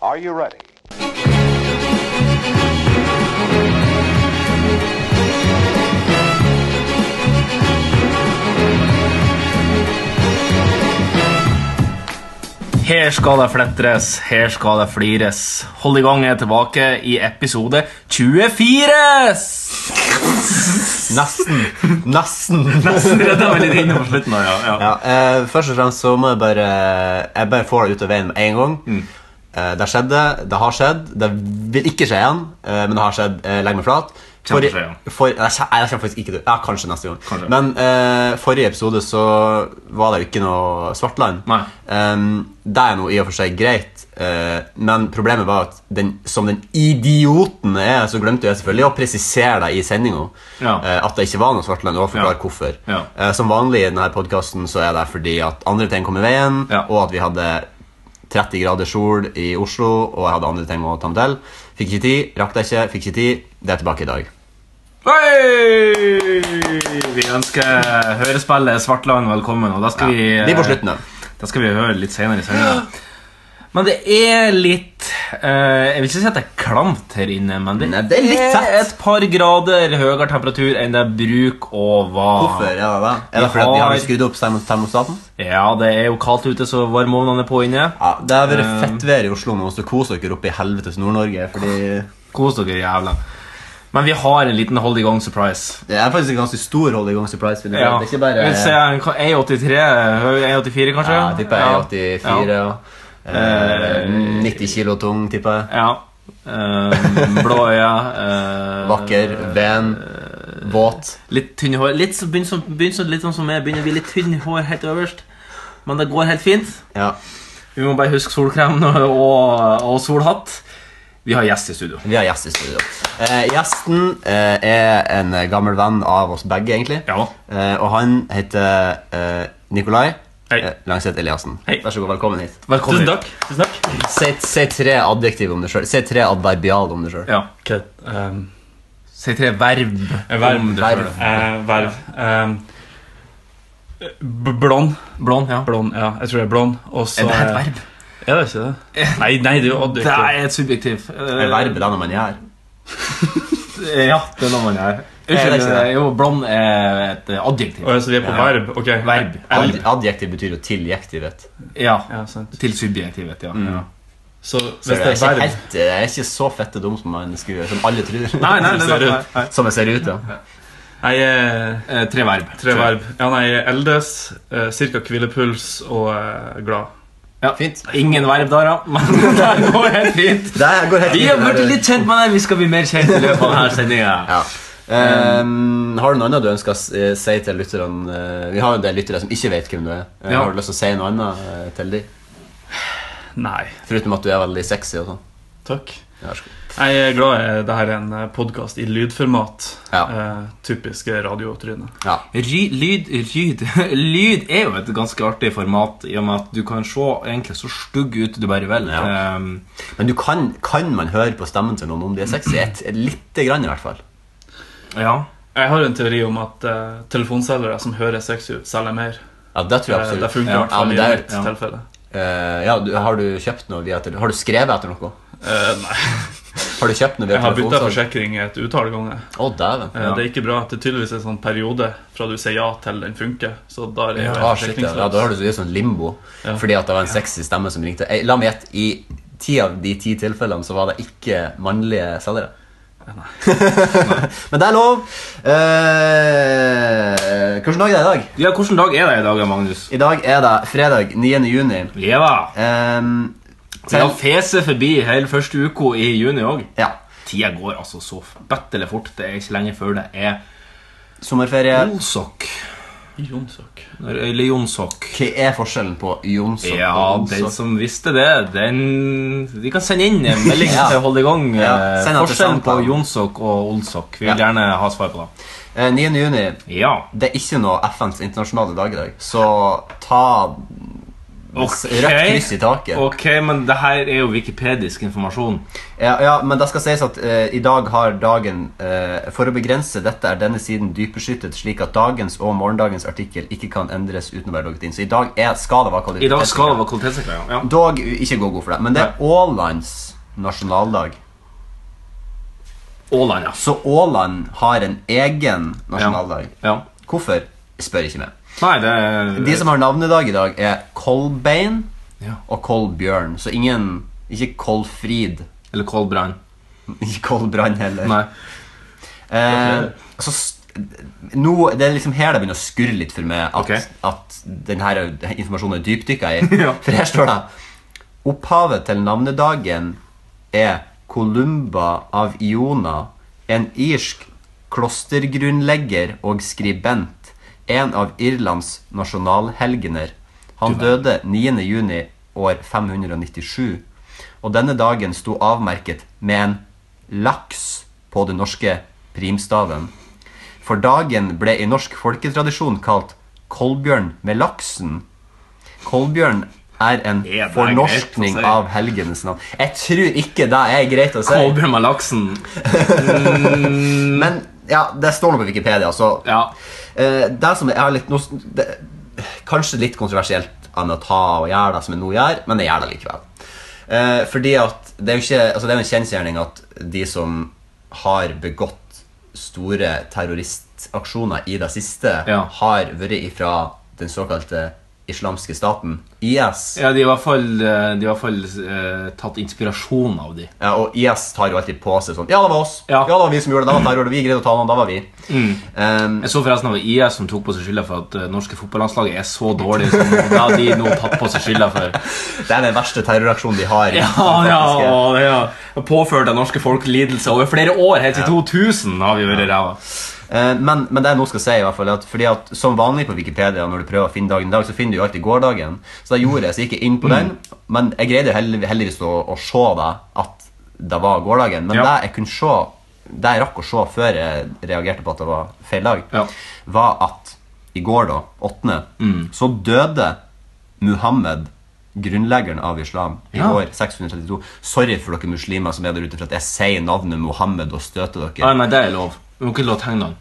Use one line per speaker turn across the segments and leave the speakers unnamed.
Are you ready?
Her skal det fletres, her skal det flires. Hold i gang er tilbake i episode 24!
Nesten. Nesten.
Dette var litt inne på slutten. Ja, ja.
Ja, eh, først og fremst så må jeg bare Jeg bare får det ut av veien med en gang.
Mm.
Eh, det skjedde, det har skjedd, det vil ikke skje igjen, eh, men det har skjedd. Eh, legg meg flat.
Kommer til å
Forri-
skje igjen.
for, nei, skje- nei, det kommer faktisk ikke til Ja, kanskje neste gang.
Kanskje.
Men eh, forrige episode så var det jo ikke noe Svartland.
Nei.
Em, det er nå i og for seg greit, eh, men problemet var at den, som den idioten jeg er, så glemte jeg selvfølgelig å presisere det i sendinga.
Ja.
at det ikke var noe Svartland, og forklare
Ja.
hvorfor.
Ja.
Eh, som vanlig i denne podkasten så er det fordi at andre ting kom i veien,
Ja.
og at vi hadde 30 grader sol i Oslo, og jeg hadde andre ting å ta med til. Fikk ikke tid, rakk det ikke, fikk ikke tid. Det er tilbake i dag.
Hei! Vi ønsker hørespillet Svartland velkommen. Og da skal vi, eh,
Vi er på slutten, da.
Da skal vi høre litt senere i sendingen. Men det er litt eh, Jeg vil ikke si at det er klamt her inne, men det,
Nei, det er litt tett.
et par grader høyere temperatur enn det bruker å være.
Hvorfor er det det?
Vi
Er det fordi at vi
har-
har skrudd opp termo- termostaten?
Ja, det er jo kaldt ute, så varmeovnene er på inne.
Ja, Det har vært
Eh.
fettvær i Oslo nå, så kos dere oppe i helvetes Nord-Norge. Fordi
Kos dere jævla. Men vi har en liten hold i gang surprise.
det er faktisk en ganske stor hold i gang surprise. vil jeg si.
Ja.
Det er ikke bare
Vi ser en- E hva- 1,83? 1,84, eh, E kanskje?
ja, jeg tipper
E
jeg er 84
Ja.
og eh, 90 kilo tung, tipper jeg.
ja. Eh, blå øyne. eh,
Vakker, ben, våt.
Litt tynne hår. Litt så begynner, som, begynner, som, litt sånn som jeg begynner å bli litt tynn i hår helt øverst. Men det går helt fint.
Ja,
Vi må bare huske solkrem og, og solhatt. Vi har gjest i studio.
Vi har gjest i studio. Eh, gjesten eh, er en eh, gammel venn av oss begge, egentlig.
Ja.
Eh, og han heter eh, Nikolai
Hei.
eh, Langseth Eliassen.
Hei.
Vær så god, velkommen hit.
Velkommen.
Tusen takk. Tusen takk.
Si, si tre adjektiv om deg sjøl. Si tre adverbial om deg sjøl.
Ja.
Ok, ehm,
Si tre verb.
verb.
om deg
Verb.
selv.
eh, verv. Ehm, b- blond.
Blond, ja.
Blond, ja. Jeg tror det er blond. Og så
Er det et verb?
Er det ikke det? Nei, nei det er jo
Det
adjektiv.
er et subjektiv. Eh,
Er verbet det når man gjør?
Ja, det er noe man gjør.
Er det
Unnskyld,
ikke det?
jo, blond er et adjektiv.
Og så vi er på
Ja.
verb. Ok.
Verb.
Ad, adjektiv betyr jo tiljektivet.
Ja.
Ja, sant.
Til subjektivet, ja. ja.
Så hvis
Så
det
jeg er
er
ikke,
verb
helt, eh, jeg er ikke så fette dum som, man skulle, som alle tror.
Nei, nei, det
Ser
er
ut.
nei.
Som jeg ser ut, ja.
Nei, eh,
Eh, Tre verb.
tre verb. Ja, nei, eldes, eh, cirka hvilepuls og eh, glad.
Ja.
Fint.
Ingen verb der, ja. Men det går helt fint.
Det her går helt
Vi
fint,
har
det her.
blitt litt kjent med deg. Vi skal bli mer kjent i løpet av denne sendinga.
Ja. Ehm, har du noe annet du ønsker å s- eh, si til lytterne? Eh, Vi har jo en del lyttere som ikke vet hvem du er. Eh,
Ja.
Har du lyst til å si noe annet eh, til dem?
Nei.
Foruten at du er veldig sexy og sånn.
Takk.
Ja, vær så god.
Jeg er glad i det her er en podkast i lydformat.
Ja.
Eh, typiske radiotryne.
Ja.
Ry, lyd, ryd. lyd er jo et ganske artig format i og med at du kan se egentlig så stygg ut du bare vil.
Ja.
Ehm,
Men du kan, kan man høre på stemmen til noen om de er sexy? Et, et lite grann, i hvert fall.
ja.
Jeg har en teori om at eh, telefonselgere som hører sexy ut, selger mer.
Ja, det tror jeg
Eh, Det
absolutt.
funker i
Ja,
hvert fall
men
i
det er-
mitt
ja.
tilfelle.
Eh, ja, du, har du kjøpt noe via tele- Har du skrevet etter noe?
Eh, nei,
Har du kjøpt noe via
jeg har bytta
telefonsalg?
forsikring et utall ganger.
Å, dæven.
Eh,
Ja.
Det er ikke bra. Det er tydeligvis en sånn periode fra du sier ja til den funker. Så da er jeg
Ja,
jo
Ah,
helt
shit, ja. ja, da har du så- det er sånn limbo.
Ja.
Fordi at det var en sexy stemme som ringte. Eh, La meg gjette. I ti av de ti tilfellene så var det ikke mannlige selgere. Men det er lov. Eh, hvilken dag er det i dag?
ja, hvilken dag er det i dag, Magnus?
I dag er det fredag 9. juni.
Jeva.
Ehm,
Vi har feset forbi hele første uka i juni òg.
ja.
Tida går altså så bøttelig fort. Det er ikke lenge før det er Oh.
Sommerferie.
Jonsok.
Jonsok.
Eller Jonsok.
Hva er forskjellen på Jonsson
Ja,
og
den
Jonsson?
som visste det, den De kan sende inn en melding
Ja.
til Hold i gang. eh,
Ja, send den til
Forskjellen på
Samtalen.
Jonsok og Olsok. Vi vil
Ja.
gjerne ha svar på det.
Eh, 9. juni.
Ja.
Det er ikke noe FNs internasjonale dag i dag, så ta
Ok.
Rødt kryss i taket.
Ok, men det her er jo wikipedisk informasjon.
Ja, ja, men det skal sies at eh, i dag har dagen eh, For å begrense dette er denne siden dypbeskyttet, slik at dagens og morgendagens artikkel ikke kan endres uten å være logget inn. Så i dag er, skal det være kvalitet.
I dag skal det være kvalitetssikra. Ja.
Dog ikke gå god for det. Men det er Ålands nasjonaldag.
Åland, ja.
Så Åland har en egen nasjonaldag.
ja.
Hvorfor? Spør ikke meg.
Nei, det er
De som har navnedag i dag, er Kolbein
Ja.
og Kolbjørn. Så ingen Ikke Kolfrid.
Eller Kolbrann.
Ikke Kolbrann heller.
Nei.
Eh, så s- nå, det er liksom her det begynner å skurre litt for meg at,
Ok.
at den her informasjonen er dypdykka i.
Ja.
For her står det Opphavet til navnedagen er Kolumba av Iona, en irsk klostergrunnlegger og skribent, en av Irlands nasjonalhelgener. Han døde 9. juni år 597, og denne dagen sto avmerket med en laks på den norske primstaven. For dagen ble i norsk folketradisjon kalt Kolbjørn med laksen. Kolbjørn er en
Er det
fornorskning
greit å si?
av helgenes navn. Jeg tror ikke det er greit å si.
Kolbjørn med laksen.
Men ja, det står noe på Wikipedia, så
Ja.
eh, Det som er litt noe, s- det, Kanskje litt kontroversielt enn å ta og gjøre det som jeg nå gjør, men jeg gjør det likevel. Eh, fordi at det er jo ikke altså Det er jo en kjensgjerning at de som har begått store terroristaksjoner i det siste,
Ja.
har vært ifra den såkalte islamske staten, IS.
ja, de er i hvert fall, eh, de er i hvert fall eh, tatt inspirasjon av de.
Ja, og IS tar jo alltid på seg sånn Ja, det var oss. Ja,
Ja. Mm.
det var vi som gjorde det. Det var terror. Vi greide å ta noen. Da var vi. Um,
Jeg så forresten av IS som tok på seg skylda for at det norske fotballandslaget er så dårlig som det har de nå tatt på seg skylda for.
det er den verste terroraksjonen de har.
Ja, ja, og det har påført det norske folk lidelse over flere år. Helt til 2000 har vi vært ræva.
Eh, men, men det jeg nå skal si, i hvert fall, er at, fordi at som vanlig på Wikipedia, når du prøver å finne dagen i dag, så finner du jo alltid gårsdagen. Så da gjorde jeg, så gikk jeg inn på den, men jeg greide jo heldigvis, heldigvis å, å se det, at det var gårsdagen. Men
Ja.
det jeg kunne se, det jeg rakk å se før jeg reagerte på at det var feil dag,
Ja.
var at i går, da, 8.,
Mm.
så døde Muhammed Grunnleggeren av islam i
Ja.
år 632. Sorry for dere muslimer som er der ute for at jeg sier navnet Mohammed og støter dere.
Nei, nei, det er lov. Du må ikke la tegne den.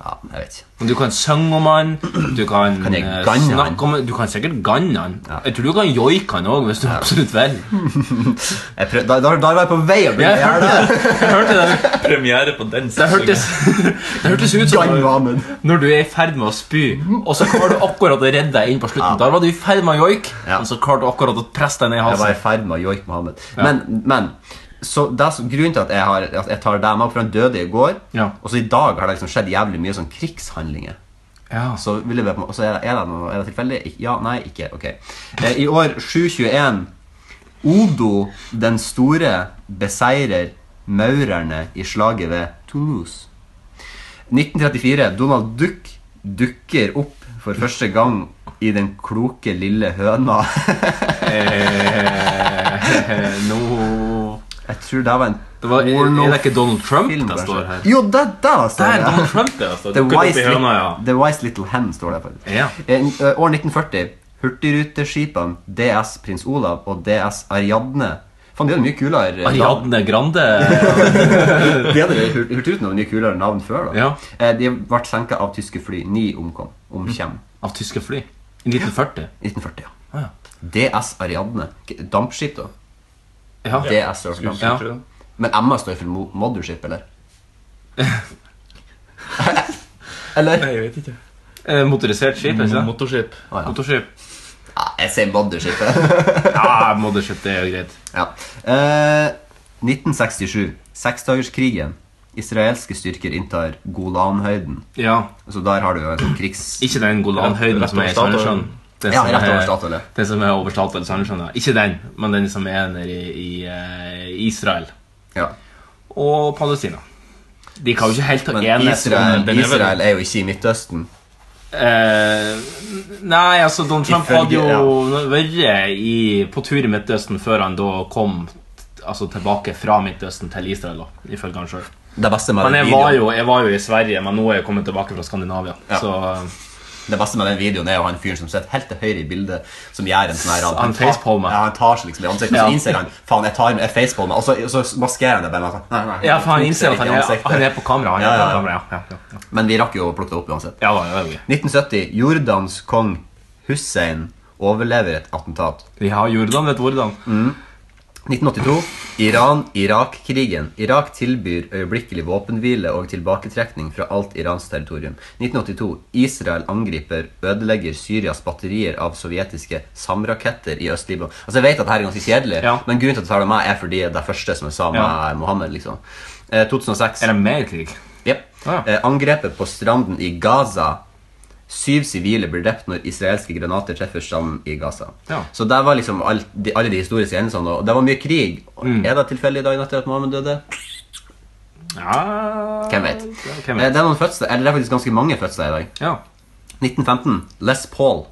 Ja, jeg vet ikke.
Men Du kan synge om han, du kan,
Kan jeg
eh,
ganne han?
snakke om han, du kan sikkert ganne han. Jeg tror du kan joike han òg, hvis du absolutt vil.
Jeg prøv, da, da, da var jeg på vei å begynne
Jeg
å
hørte
gjøre det.
det. Jeg hørte det.
Premiere på den
Det hørtes, det hørtes ut som
Gang Mahmud.
når du er i ferd med å spy, og så klarer du akkurat å redde deg inn på slutten.
Ja.
Da var du i ferd med å joike,
Ja.
men så klarte du akkurat å presse deg ned i
Jeg var
halsen.
i ferd med å joike Mohammed. Men, men så det, som- grunnen til at jeg, har, at jeg tar deg med, for han døde i går,
Ja.
og så i dag har det liksom skjedd jævlig mye sånn krigshandlinger.
Ja.
Så, vil jeg, bare på- og så er, det, er, det noe, er det tilfeldig? Ik- Ja, nei, ikke. Ok. Eh, I år 721 Odo den store beseirer maurerne i slaget ved Toulouse. 1934 Donald Duck dukker opp for første gang i Den kloke lille høna.
Eh, Nå
Jeg tror det var en
Det var- Er det ikke Donald Trump
pornofilm,
det står her?
kanskje. Jo, det der står
Der, Donald
det.
Trump, det, altså.
The
Dukker opp
wise,
i høna, ja.
Lit- The wise Little Hen står det faktisk.
Ja.
Eh, eh, År 1940. Hurtigruteskipene DS Prins Olav og DS Ariadne Faen, de hadde mye kulere navn.
Ariadne Grande.
De hadde jo hurt- Hurtigruten hadde mye kulere navn før. da
Ja.
Eh, De ble senka av tyske fly. Ni omkom. Omkjem.
Av tyske fly. I 1940.
1940, ja.
Ah, ja.
DS Ariadne. K- Dampskip, da.
Ja.
DS står for
Skulle
damp.
ikke
Ja.
tro det.
Men Emma står for mo- mothership, eller? eller?
Nei, jeg vet ikke.
Eh, motorisert skip, ikke sant?
Motorskip.
Å, ja.
Motorskip.
Ja, jeg sier mothership. jeg.
Ja, mothership, det er jo greit.
Ja. Eh, 1967. Seksdagerskrigen. Israelske styrker inntar Golanhøyden.
Ja.
Så der har du jo en sånn krigs...
Ikke den Golanhøyden
Rett
som er
over
i
Statoil.
Sandnessjøen. Den
Ja,
som
rett over
er-
Statoil, ja.
Den som er over Statoil Sandnessjøen, ja. Ikke den, men den som er nede i, i eh, Israel.
Ja.
Og Palestina. De kan jo ikke helt ta
Men
enes
Israel,
den er vel-
Israel er jo ikke i Midtøsten.
Eh, Nei, altså Donald Trump
Ifølge-
hadde jo vært i, på tur i Midtøsten før han da kom t- altså, tilbake fra Midtøsten til Israel, da, ifølge han sjøl.
Det beste med
Men
den
jeg var,
videoen-
jo, jeg var jo i Sverige, men nå er jeg kommet tilbake fra Skandinavia.
Ja.
Så
Det beste med den videoen er jo han fyren som sitter helt til høyre i bildet, som gjør en sånn her
Han
tar-
facepalmer.
Ja, han tar seg liksom i ansiktet,
Ja.
og så innser han faen, jeg tar jeg facepalmer, og så, og så maskerer han det bare med sånn. Nei, nei,
Ja, for han
tok
innser
det
at han
ikke i
er,
ansiktet.
han er på kamera. Han
Ja,
er
ja,
på
ja.
kamera, ja. ja, ja, ja.
Men vi rakk jo å plukke det opp uansett.
ja, da, ja, ja.
1970. Jordans kong Hussein overlever et attentat.
Vi har Jordan, vet hvordan.
1982. Iran-Irak-krigen. Irak tilbyr øyeblikkelig våpenhvile og tilbaketrekning fra alt Irans territorium. 1982. Israel angriper, ødelegger Syrias batterier av sovjetiske SAM-raketter i Øst-Libanon. Altså, jeg vet at dette er ganske kjedelig,
Ja.
men grunnen til at jeg tar det med, er fordi det første som jeg sa med
Ja.
Mohammed, liksom. Eh, 2006.
Er det mer krig?
Jep.
Ah, ja.
Eh, angrepet på stranden i Gaza. Syv sivile blir drept når israelske granater treffer stranden i Gaza.
Ja.
Så der var liksom all, de, alle de historiske hendelsene. Og det var mye krig.
Mm.
Er det tilfeldig dagen etter at Mohammed døde?
Ja
Hvem vet?
Ja,
Eh,
Hvem
Det
vet?
er noen fødsler, eller det er faktisk ganske mange fødsler i dag.
Ja.
1915. Les Paul.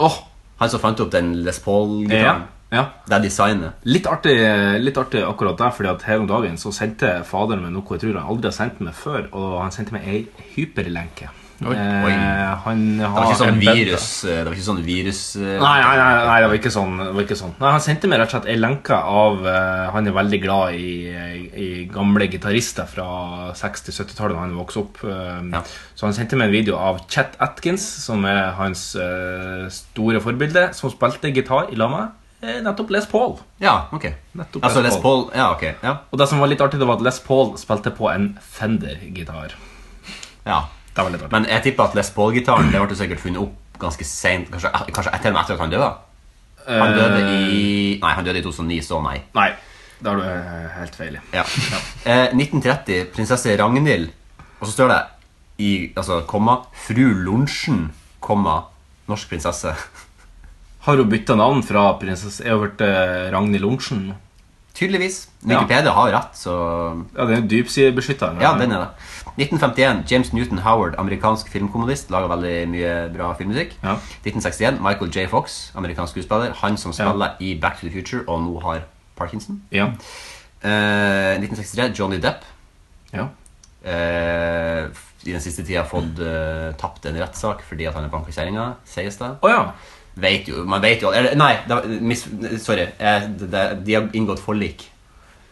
Åh,
Han som fant opp den Les
ja.
Paul-gitaren.
ja.
Det er designet.
Litt artig, litt artig akkurat der, fordi at her om dagen så sendte faderen min noe jeg tror han aldri har sendt meg før, og han sendte meg ei hyperlenke.
Oi.
Oi.
Eh, han
Det var
har
ikke sånn
en bed, da.
virus... eh, Det var ikke sånn virus... eh,
Nei, nei, nei, nei, det var ikke sånn. Det var ikke sånn. Nei, han sendte meg rett og slett ei lenke av eh, Han er veldig glad i, eh, i gamle gitarister fra 60- 70-tallet da han vokste opp. eh,
Ja.
Så han sendte meg en video av Chet Atkins, som er hans eh, store forbilde, som spilte gitar i lag med eh, nettopp Les Paul.
Ja, ok.
Nettopp
Altså
Les
Les Paul... Ja, ok. Ja.
Og det som var litt artig, det var at Les Paul spilte på en Fender-gitar.
ja.
Det var litt artig.
Men jeg tipper at Les Paul-gitaren Det ble sikkert funnet opp ganske sent Kanskje, ah, kanskje etter, etter at han døde Han døde i Nei, han døde i 2009, så nei
Nei, da har du eh, helt feil. i.
ja. Eh, 1930, prinsesse Ragnhild Og så står det i, altså, komma, Fru Lundsen, komma, norsk prinsesse
Har hun bytta navn fra prinsesse Jeg har hørt eh, Ragnhild Lundsen. nå.
Tydeligvis,
Ja.
Wikipedia har rett, så
Ja, den er jo dypsidebeskytta.
Ja, den er det 1951, James Newton Howard, amerikansk filmkommunist Lager veldig mye bra filmmusikk
Ja.
1961, Michael J. Fox, amerikansk skuespiller. Han som spiller i Back to the Future og nå har Parkinson.
Ja.
Eh, 1963, Johnny Depp.
ja.
eh, f- I den siste tida fått eh, tapt en rettssak fordi at han er banka kjerringa, sies det.
Å ja.
Vet jo, man vet jo eller, Nei, det, var- mis, sorry. eh, det, det, de har inngått forlik.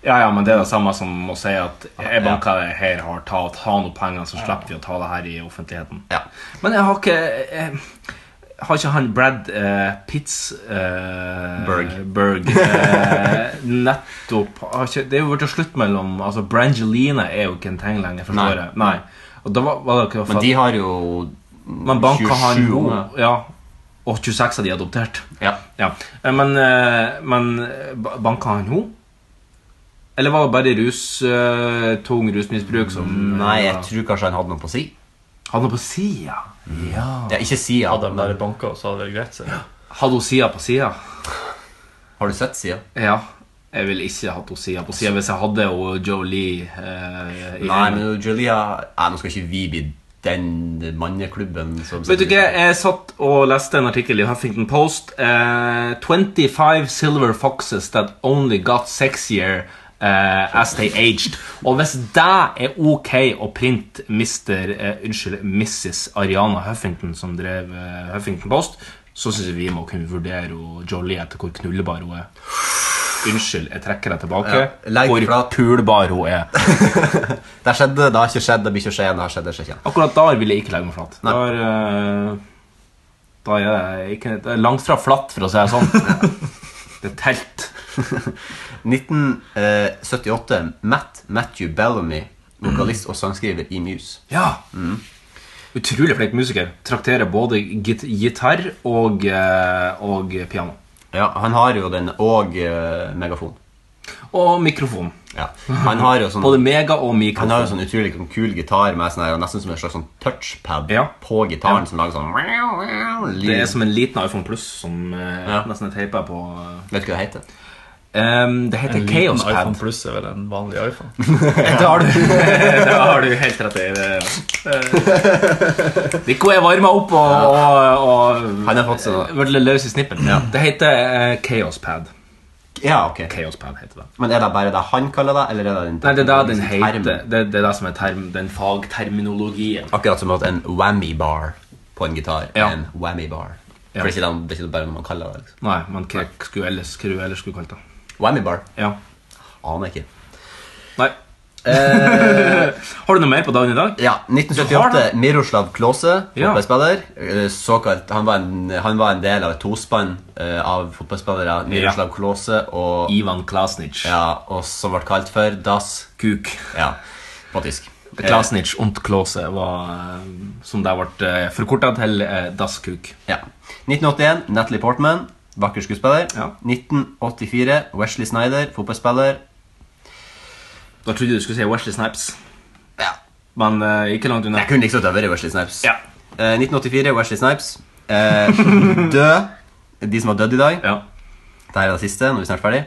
ja. Ja, men det er det samme som å si at jeg banker det her, har tatt, ha noe penger, så slipper vi å ta det her i offentligheten.
Ja.
Men jeg har ikke jeg, Har ikke han Brad eh, Pitts eh,
Berg.
Berg eh, nettopp har ikke, Det er jo blitt slutt mellom altså Brangelina er jo ikke en ting lenger,
Nei.
forstår jeg. Nei. Og da var, var det ikke
Men de har jo
Man banka han
27 unger.
Ja. Og 26 av de er adoptert.
Ja.
Ja, eh, men, eh, men eh, ba- banka han henne? Eller var det bare rus, eh, tung rusmisbruk som eh,
Mm, Nei, jeg tror kanskje han hadde noe på si.
Hadde hun på sida? Ja.
Ja, ikke sida.
Hadde de bare
men-
banka, så hadde det vært greit. Så.
Hadde hun sida på sida?
Har du sett sida?
Ja. Jeg ville ikke hatt hun sida på sida hvis jeg hadde hun Jolie eh, i
Nei,
heimen.
men Julia Nei, nå skal ikke vi bli den manneklubben som
Vet du hva, jeg satt og leste en artikkel i Huffington Post. eh, 25 silver foxes that only got sexier eh, as they aged. Og hvis det er ok å printe mister, eh, unnskyld, Mrs. Ariana Huffington, som drev eh, Huffington Post, så syns jeg vi må kunne vurdere hun Jolie etter hvor knullebar hun er. Unnskyld, jeg trekker det tilbake.
Ja, legg
hvor
flat.
pulbar hun er.
Det har skjedd, det har ikke skjedd, det blir ikke å skje igjen, det har skjedd, det skjer ikke igjen.
Akkurat der vil jeg ikke legge meg flat.
Nei.
Der, eh, da er jeg ikke, det er langt fra flatt, for å si det sånn. Det er telt.
1978, eh, Matt Matthew Bellamy, vokalist og sangskriver i Muse.
Ja. Utrolig flink musiker. Trakterer både git gitar og, eh, og piano.
Ja, han har jo den, og eh, megafon.
Og mikrofon.
Ja. Han har jo sånn...
Både mega og
Han har jo
mikrofon.
sånn utrolig sånn kul gitar med sånn her, nesten som en slags sånn touchpad
Ja.
på gitaren som lager sånn lyd.
Det er som en liten iPhone Plus som eh,
Ja.
nesten er teipa på
Vet du hva det heter?
Em, Det heter
En liten
Chaos Pad.
iPhone Plus er vel en vanlig iPhone.
Mm.
Det har du, det har du helt rett i. det, ja. Nico er varma opp og, og, og
Han har fått seg-
vært litt løs i snippen. Det heter eh, Chaos Pad.
Ja, ok.
Chaos Pad heter det.
Men er det bare det han kaller det, eller er det den
Nei, det er det den
termen?
heter. Det, det er det som er term, den fagterminologien.
Akkurat som at en whammy bar på en gitar.
Ja.
En whammy bar.
Ja.
For det er ikke det- det er ikke bare noe man kaller det. liksom.
Nei, men hva skulle ellers, hva du ellers skulle kalt det?
Whammy bar.
Ja.
Aner jeg ikke.
Nei. Har du noe mer på dagen i dag?
Ja,
Du har
1978, Miroslav Klose,
Ja.
fotballspiller. eh, Såkalt, han, var en, han var en del av et tospann eh, av fotballspillere. Miroslav Klose og,
Ivan Klasnic.
ja, Eh. og som ble kalt for Das
Kuk.
Ja, på tysk. Eh,
Klasnic und Klose var eh, som det ble forkorta til eh, Das Kuk.
Ja. 1981, Natalie Portman, vakker skuespiller.
Ja.
1984, Wesley Snyder, fotballspiller.
Da trodde jeg du skulle si Wesley Snipes,
Ja.
men eh, ikke langt unna.
Jeg kunne ikke stått over i Wesley Snipes.
Ja.
Eh, 1984, Wesley Snipes. Eh, død. De som har dødd i dag.
Ja.
Dette er det siste, nå er vi snart ferdig.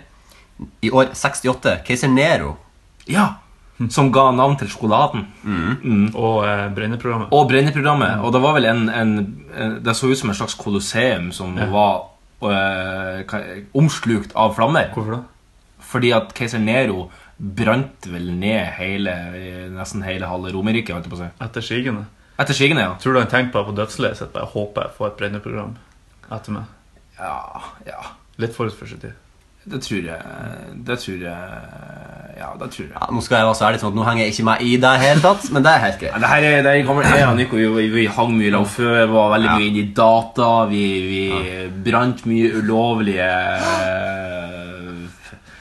I år 68, keiser Nero.
ja. Som ga navn til sjokoladen.
Og eh, Brenneprogrammet.
Og Brenneprogrammet. Og det var vel en, en, en Det så ut som en slags kolosseum som var eh, ka- omslukt av flammer.
Hvorfor det?
Fordi at keiser Nero brant vel ned hele, eh, nesten hele halve Romerriket. holdt jeg på å si.
Etter sigende.
Etter sigende, ja.
Tror du han tenkte bare på dødsleiet sitt? Bare håper jeg får et Brenneprogram etter meg.
Ja, ja.
Litt forut for sin tid.
Det tror jeg Det tror jeg Ja, det tror jeg.
Ja, nå skal jeg også være litt sånn at nå henger jeg ikke meg i det hele tatt, men det er helt greit.
Ja, det her er, det her kommer, jeg og Nico vi, vi- vi hang mye lag før. Vi var veldig mye inne i data. Vi, vi brant mye ulovlige eh,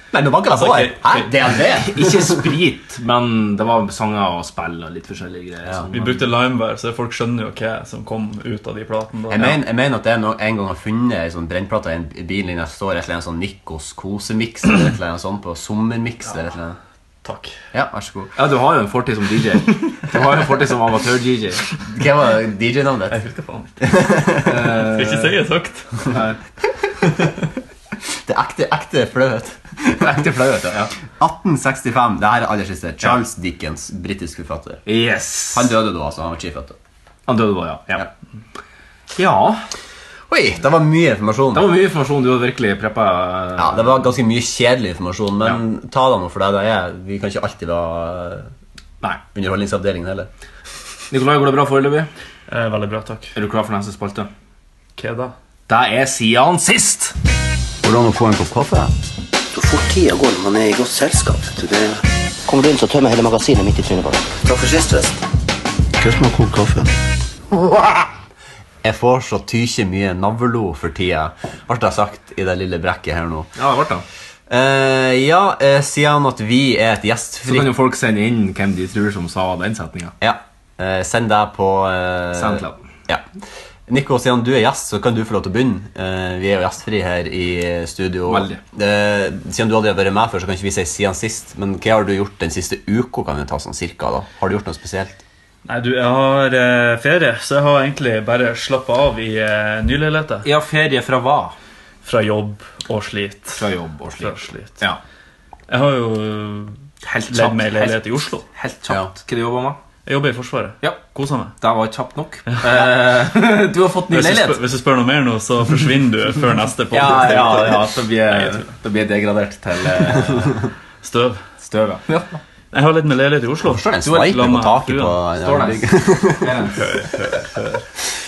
Nei, nå vanker jeg hår.
ikke-
Hæ? DNB?
Ikke sprit, men det var sanger og spill og litt forskjellige greier. sånn,
Vi
men-
brukte limebær, så folk skjønner jo hva som kom ut av de platene.
Jeg
da.
mener, jeg mener at jeg no- en gang har funnet ei sånn brennplate i en bil der det står et eller annet sånn Nikos kosemiks eller et eller annet sånt på sommermiks eller et eller annet.
Takk.
Ja, vær så god.
Ja, du har jo en fortid som DJ. Du har jo en fortid som amatør-DJ.
Hva var DJ-navnet?
Jeg husker faen ikke. Skal ikke si det høyt.
Det er ekte, ekte flauhet.
Ekte flauhet, ja.
1865. Det her er aller siste. Charles Dickens, britisk forfatter.
Yes.
Han døde da, altså. Han var ikke født da.
Han døde da, ja. ja.
Ja.
Ja,
Oi, det var mye informasjon.
det var mye informasjon du hadde virkelig preppa.
Ja, Det var ganske mye kjedelig informasjon, men ta det nå for det det er. Vi kan ikke alltid være
Nei.
Underholdningsavdelingen heller.
Nikolai, går det bra foreløpig?
Eh, Veldig bra, takk.
Er du klar for neste spalte?
Hva da?
Det er siden sist!
Går det an å få en kopp kaffe?
Så fort tida går når man er i godt selskap. vet du, Det... Kommer du inn, så tømmer hele magasinet midt i trynet på deg. Takk for sist, forresten. Hva som har kokt kaffe?
Jeg får så tykje mye navlo for tida. Alt jeg har sagt i det lille brekket her nå.
Ja, det ble det.
Eh, ja, eh, siden at vi er et
Så
gjestfritt
kan jo folk sende inn hvem de tror som sa den setninga.
Ja. eh, send deg på eh,
Soundcloud.
Ja. Nico, siden du er gjest, så kan du få lov til å begynne. Eh, vi er jo gjestfri her i studio.
Veldig.
Eh, siden du aldri har vært med før, så kan ikke vi si siden sist. Men hva har du gjort den siste uka? kan vi ta sånn cirka da? Har du gjort noe spesielt?
Nei, du, jeg har eh, ferie, så jeg har egentlig bare slappa av i eh, nyleiligheter.
Ja, ferie fra hva?
Fra jobb og slit.
Fra jobb og
Fra
slikt.
slit.
Ja.
Jeg har jo
Helt
levd
kjapt.
med en
Helt,
leilighet i Oslo.
helt kjapt. Hva du jobber med?
Jeg jobber i Forsvaret.
Ja,
Koser meg.
det var kjapt nok. Eh, du har fått ny
Hvis du, spør,
leilighet.
hvis du spør noe mer nå, så forsvinner du før neste på
Ja, ja, ja, da blir da blir jeg degradert til eh,
støv.
støvet.
Jeg har litt med leilighet i Oslo.
Står det en
Du har- la
sniper på
meg-
taket
du,
på
ja.
Står det.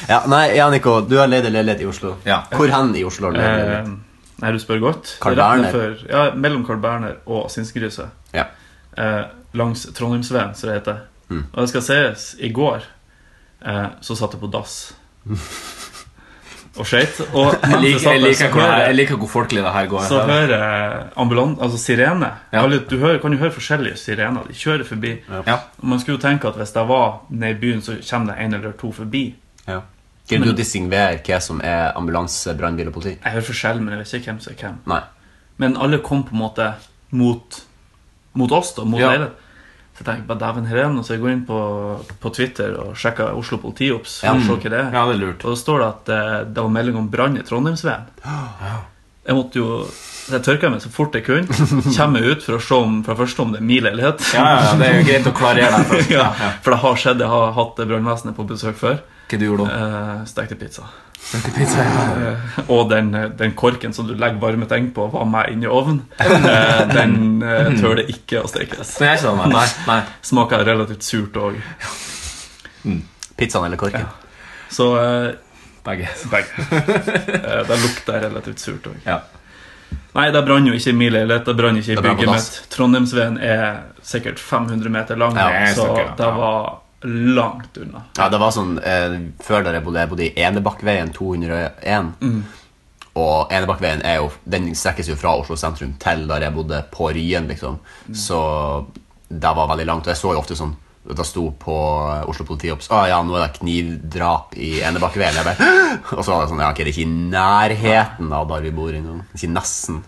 Ja, nei, ja, Nico, du har leid en leilighet i Oslo.
Ja.
Hvor hen i Oslo har du leid en leilighet?
Eh, Nei, du spør godt.
Carl
Det er rett
Berner.
nedfor- ja, mellom Carl Berner og Sinnsgryset.
Ja.
eh, langs Trondheimsveien, som det heter.
Mm.
Og det skal sies, i går eh, så satt jeg på dass. og skøyt. Og
Jeg
mens jeg
liker,
satt
jeg,
der,
liker
så
hvor, jeg
hører jeg-
liker hvor folkelig det her går.
så hører jeg ambulan... Altså sirene.
Ja.
Alle- Du hører, kan jo høre forskjellige sirener. De kjører forbi.
Ja.
Og man skulle jo tenke at hvis jeg var nede i byen, så kommer det en eller to forbi.
ja. Greier du å distingvere hva som er ambulanse, brannbil og politi?
Jeg hører forskjell, men jeg vet ikke hvem som er hvem.
Nei.
Men alle kom på en måte mot, mot oss, da, mot
Ja.
leiligheten. Så jeg tenker bare dæven her er noe, så jeg går inn på, på Twitter og sjekker Oslo politiops. for å se hva det er.
Ja, det er lurt.
Og da står det at eh, det var melding om brann i Trondheimsveien. Jeg måtte jo, jeg tørka meg så fort jeg kunne. Kommer jeg ut for å se om, fra første om det er min leilighet.
Ja, ja, ja, det er jo greit å klarere det først.
Ja, For det har skjedd. Jeg har hatt brannvesenet på besøk før.
Hva du gjorde da?
Eh, stekte pizza. Eh, og den, den korken som du legger varme ting på, var meg inni ovnen. Eh, den eh, tør det ikke å stekes.
Nei, jeg sa nei. Nei, nei.
Smaker relativt surt òg.
Pizzaen eller korken?
Så eh,
Begge.
begge. Eh, det lukter relativt surt òg.
Ja.
Nei, det brant jo ikke i min leilighet, det brant ikke i
Det brant på
bygget mitt.
dass.
Trondheimsveien er sikkert 500 meter lang,
Ja, jeg
så
snakker, ja.
det var langt unna.
Ja, det var sånn eh, Før da jeg bodde, jeg bodde i Enebakkveien 201. Og Enebakkveien er jo, den strekkes jo fra Oslo sentrum til der jeg bodde, på Ryen, liksom. Så det var veldig langt. Og jeg så jo ofte sånn da sto på Oslo politiops Å ja, nå er det knivdrap i Enebakkveien. Jeg bare, «Hå!» Og så var det sånn Ja, ok, det er ikke i nærheten av der vi bor engang. Ikke nesten.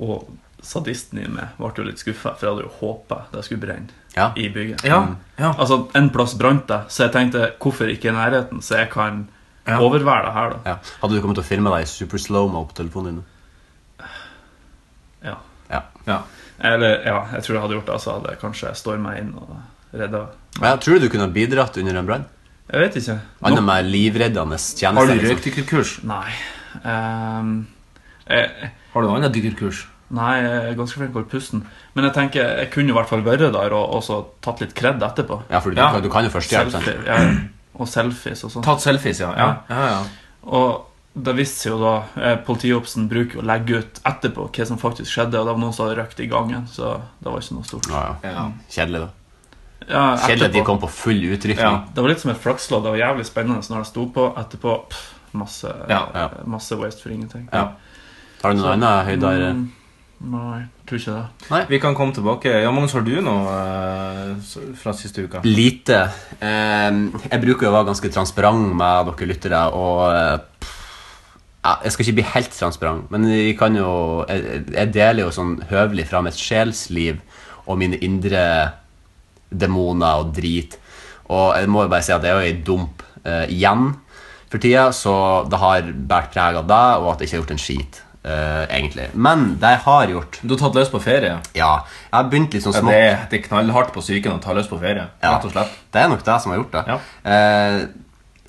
Og sadisten i meg ble jo litt skuffa, for jeg hadde jo håpa det skulle brenne
Ja.
i bygget.
Ja,
Mm.
ja.
Altså, En plass brant det, så jeg tenkte hvorfor ikke i nærheten, så jeg kan
Ja.
overvære det her, da.
Ja. Hadde du kommet til å filme deg i super slow-mo på telefonen din?
Ja.
Ja.
Ja.
Eller, ja, jeg tror jeg hadde gjort det, så hadde jeg kanskje storma inn og redda
Ja, tror du du kunne ha bidratt under en brann?
Jeg vet ikke.
Annet med livreddende tjenester.
Har du
liksom.
røykdykkerkurs?
Nei. ehm, jeg,
Har du noe annet dykkerkurs?
nei, jeg er ganske flink til å holde pusten. Men jeg tenker, jeg kunne i hvert fall vært der og, og så tatt litt kred etterpå.
Ja, for du,
Ja.
Kan, du kan jo førstehjelp. sant?
Selfie, ja, og selfies og sånn.
Tatt selfies, ja. Ja, ja, ja.
Og det viste seg jo da eh, Politiobsen bruker å legge ut etterpå hva som faktisk skjedde, og det var noen som hadde røkt i gangen, så det var ikke noe stort.
Ja, ja.
Ja.
Kjedelig, da.
Ja,
Kjedelig at de
etterpå.
kom på full utrykning.
Ja.
Det var litt som et flakslodd. Det var jævlig spennende når det sto på. Etterpå pff, masse,
Ja,
ja.
masse waste for ingenting.
Ja. Har du noe annet høydere?
Mm, Nei, jeg tror ikke det.
Vi kan komme tilbake. Ja, Magnus, har du noe eh, s- fra siste uka?
Lite. Eh, jeg bruker jo å være ganske transparent med dere lyttere, og eh, pff, ja, Jeg skal ikke bli helt transparent, men vi kan jo, jeg, jeg deler jo sånn høvelig fra mitt sjelsliv og mine indre demoner og drit. Og jeg må jo bare si at jeg er jo i dump eh, igjen for tida, så det har båret preg av det, og at jeg ikke har gjort en skit, eh, egentlig. Men det jeg har gjort
Du har tatt løs på ferie.
Ja, jeg har begynt litt sånn
Ja,
smått.
det, er, det er knallhardt på psyken å ta løs på ferie.
Ja.
Rett og slett.
Det er nok det som har gjort det.
Ja.
Eh,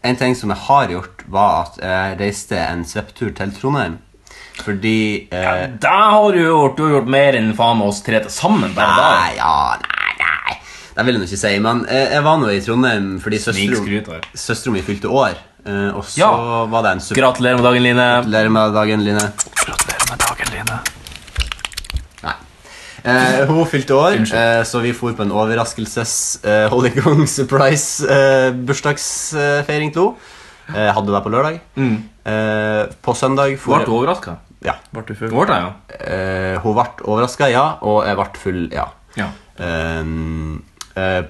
en ting som jeg har gjort, var at jeg reiste en svepptur til Trondheim. Fordi eh,
Det har du gjort. Du har gjort mer enn faen med oss tre til sammen. Bare
Nei, ja, nei, nei. Det vil jeg nå ikke si. Men eh, jeg var nå i Trondheim fordi
Snikskryt her.
søstera mi fylte år. Eh, og så
Ja.
var det en
der. Gratulerer med dagen, Line.
Gratulerer med dagen, Line.
Gratulerer med dagen, Line.
Nei. Eh, hun fylte år, eh, så vi for på en overraskelses eh, Holy Gong surprise eh, bursdagsfeiring til henne. Eh, hadde det på lørdag.
Mm.
Eh, på søndag
Ble
for
du overraska?
Ja.
Ble du full?
Ble jeg, ja.
Eh, hun ble overraska, ja, og jeg ble full, ja.
ja.
Ehm, eh,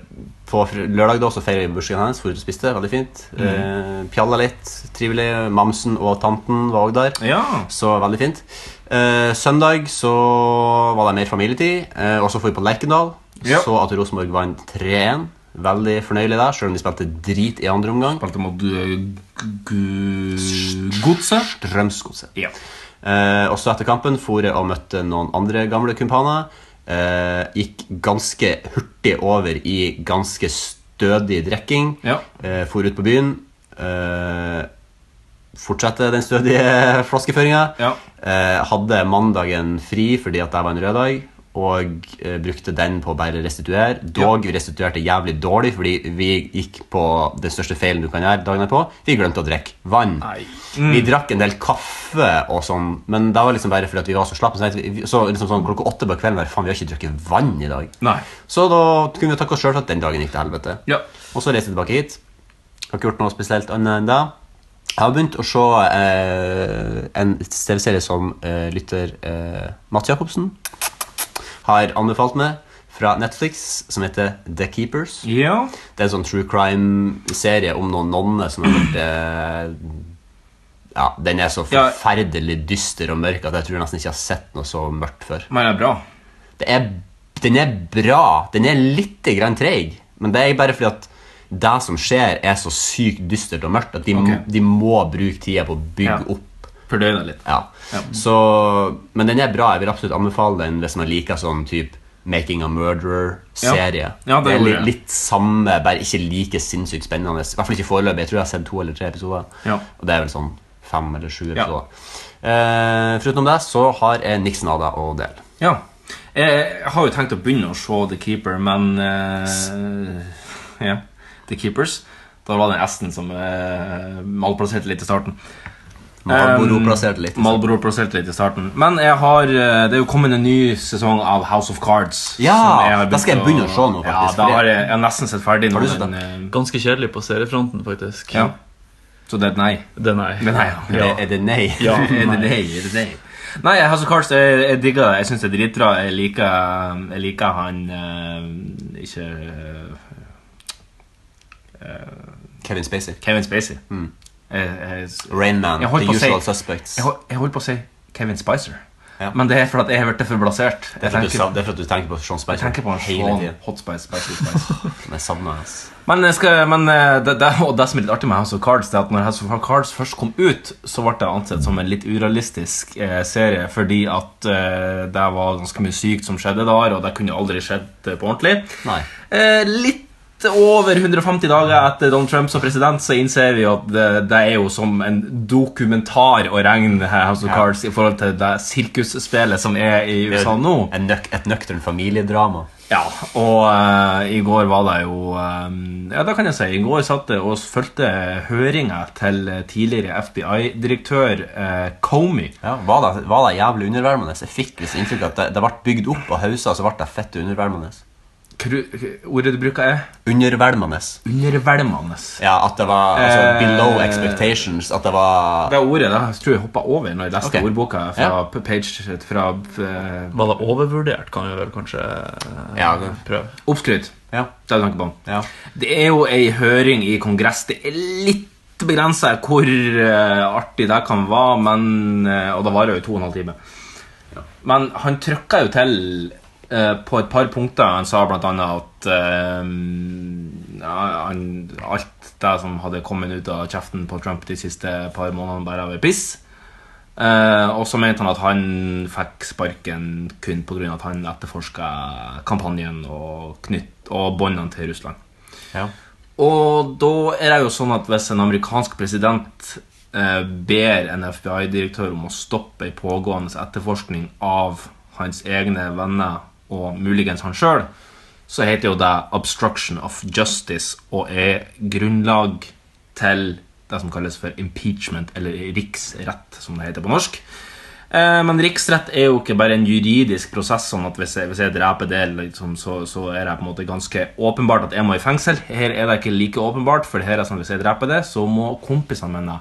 på fr- lørdag da så feirer vi bursdagen hennes. Dro ut og spiste, veldig fint.
Mm.
Eh, Pjalla litt, trivelig. Mamsen og tanten var òg der.
Ja.
Så veldig fint. Eh, søndag så var det mer familietid, eh, og så for vi på Lerkendal.
Ja.
Så at Rosenborg vant 3-1. Veldig fornøyelig der, selv om de spilte drit i andre omgang.
Spilte mot eh, gu- gu- Godset.
Strømsgodset.
Ja.
Eh, også etter kampen for jeg og møtte noen andre gamle kumpaner. Eh, gikk ganske hurtig over i ganske stødig drikking.
Ja.
Eh, for ut på byen. Eh, fortsette den stødige flaskeføringa.
Ja.
Eh, hadde mandagen fri fordi at det var en rød dag, og eh, brukte den på å bare restituere. Dog vi restituerte jævlig dårlig, fordi vi gikk på den største feilen du kan gjøre dagen derpå. Vi glemte å drikke vann. Vi
Mm.
drakk en del kaffe og sånn, men det var liksom bare fordi at vi var så slappe. Så, tenkte vi- så liksom sånn klokka åtte på kvelden bare, faen, vi har ikke drukket vann i dag.
Nei.
Så da kunne vi takke oss sjøl for at den dagen gikk til helvete.
Ja.
Og så reiste jeg tilbake hit. Har ikke gjort noe spesielt annet enn det. Jeg har begynt å se eh, en TV-serie som eh, lytter eh, Mats Jacobsen har anbefalt meg, fra Netflix, som heter The Keepers.
ja.
Det er en sånn true crime-serie om noen nonner som har vært eh, Ja, den er så
Ja.
forferdelig dyster og mørk at jeg tror jeg nesten ikke jeg har sett noe så mørkt før.
Men det er bra.
Det er, den er bra. Den er litt grann treig, men det er bare fordi at det som skjer, er så sykt dystert og mørkt at de,
Ok.
de må bruke tida på å bygge
Ja.
opp.
Fordøy deg litt.
Ja. Så, men den er bra. Jeg vil absolutt anbefale den hvis man liker sånn type Making a Murderer-serie.
Ja, det
det er
gjorde
litt,
jeg.
litt samme, bare ikke like sinnssykt spennende. I hvert fall ikke foreløpig. Jeg tror jeg har sett to eller tre episoder.
Ja.
Og det er vel sånn fem eller sju
Ja.
episoder. Eh, Foruten det så har jeg niks nada å dele.
Ja. Jeg har jo tenkt å begynne å se The Keeper, men eh, Ja. The Keepers. Da var det den S-en som eh, malplasserte litt i starten.
Marlboro
Um,
plasserte litt.
Marlboro plasserte litt i starten. Men jeg har, eh, det er jo kommet en ny sesong av House of Cards.
Ja,
som jeg har
da skal jeg
begynt
begynne å se nå,
Ja,
faktisk,
da
for
har
det-
jeg, jeg har nesten sett ferdig.
Har du
nå,
sett den?
men,
Ganske kjedelig på seriefronten, faktisk.
eh, ja. Så det er et nei.
Det er nei.
Men nei, ja.
Er det- Er det nei?
Ja.
Er det nei? Er det nei? Nei, House of Cards, jeg, jeg digger det. Jeg syns det er dritbra. Jeg liker, jeg liker han eh, Ikke eh,
Kevin Spacey.
Kevin Spacey.
Mm.
Jeg, jeg,
Rainman.
Jeg holdt
The
på å si-
Usual Suspects.
Jeg, hol- jeg holdt på å si Kevin Spicer,
Ja.
men det er fordi jeg har blitt for blasert.
Det er
Jeg
for at du
tenker,
sa- det er for at du tenker på Sean Spicer
jeg tenker på en
hele
Sean
tiden.
Hot Spice, Spicy Spice.
Men Jeg savner hans.
men jeg skal, men eh, det, det, og det som er litt artig med House of Cards, det er at når House of Cards først kom ut, så ble det ansett som en litt urealistisk eh, serie, fordi at eh, det var ganske mye sykt som skjedde der, og det kunne aldri skjedd eh, på ordentlig.
Nei.
Eh, litt over 150 dager etter Donald Trump som president, så innser vi jo at det, det er jo som en dokumentar å regne her, House of
Ja.
Cards i forhold til det sirkusspillet som er i USA nå.
En nøk et nøktern familiedrama.
Ja, og eh, i går var det jo eh, Ja, det kan jeg si. I går satt jeg og fulgte høringa til tidligere FBI-direktør eh, Comey.
Ja, var, det, var det jævlig underværmende? Jeg fikk liksom inntrykk av at det, det ble bygd opp og hausa, og så ble det fett underværmende.
Kru, ordet du bruker, er
Underværmende.
undervelmende.
Ja, at det var altså,
Eh,
below expectations. At det var
Det ordet da, tror jeg hoppa over når jeg leste
Ok.
ordboka fra
Ja.
p- page fra eh,
Var det overvurdert, kan vi vel kanskje eh,
Ja, det-
prøve.
Oppskrytt.
Ja.
Det er tanken på.
ja.
Det er jo ei høring i Kongress. Det er litt begrensa hvor eh, artig det kan være, men eh, Og det varer jo to og en halv time. Men han trykka jo til eh, på et par punkter. Han sa blant annet at eh, ja, han, alt det som hadde kommet ut av kjeften på Trump de siste par månedene, bare var piss. Eh, og så mente han at han fikk sparken kun pga. at han etterforska kampanjen og, knytt, og båndene til Russland.
ja.
Og da er det jo sånn at hvis en amerikansk president eh, ber en FBI-direktør om å stoppe ei pågående etterforskning av hans egne venner og muligens han sjøl, så heter jo det obstruction of justice og er grunnlag til det som kalles for impeachment, eller riksrett, som det heter på norsk. Eh, Men riksrett er jo ikke bare en juridisk prosess. sånn at Hvis jeg, hvis jeg dreper det, liksom, så, så er det på en måte ganske åpenbart at jeg må i fengsel. Her er det ikke like åpenbart, for her er det sånn at hvis jeg dreper det, så må kompisene mine,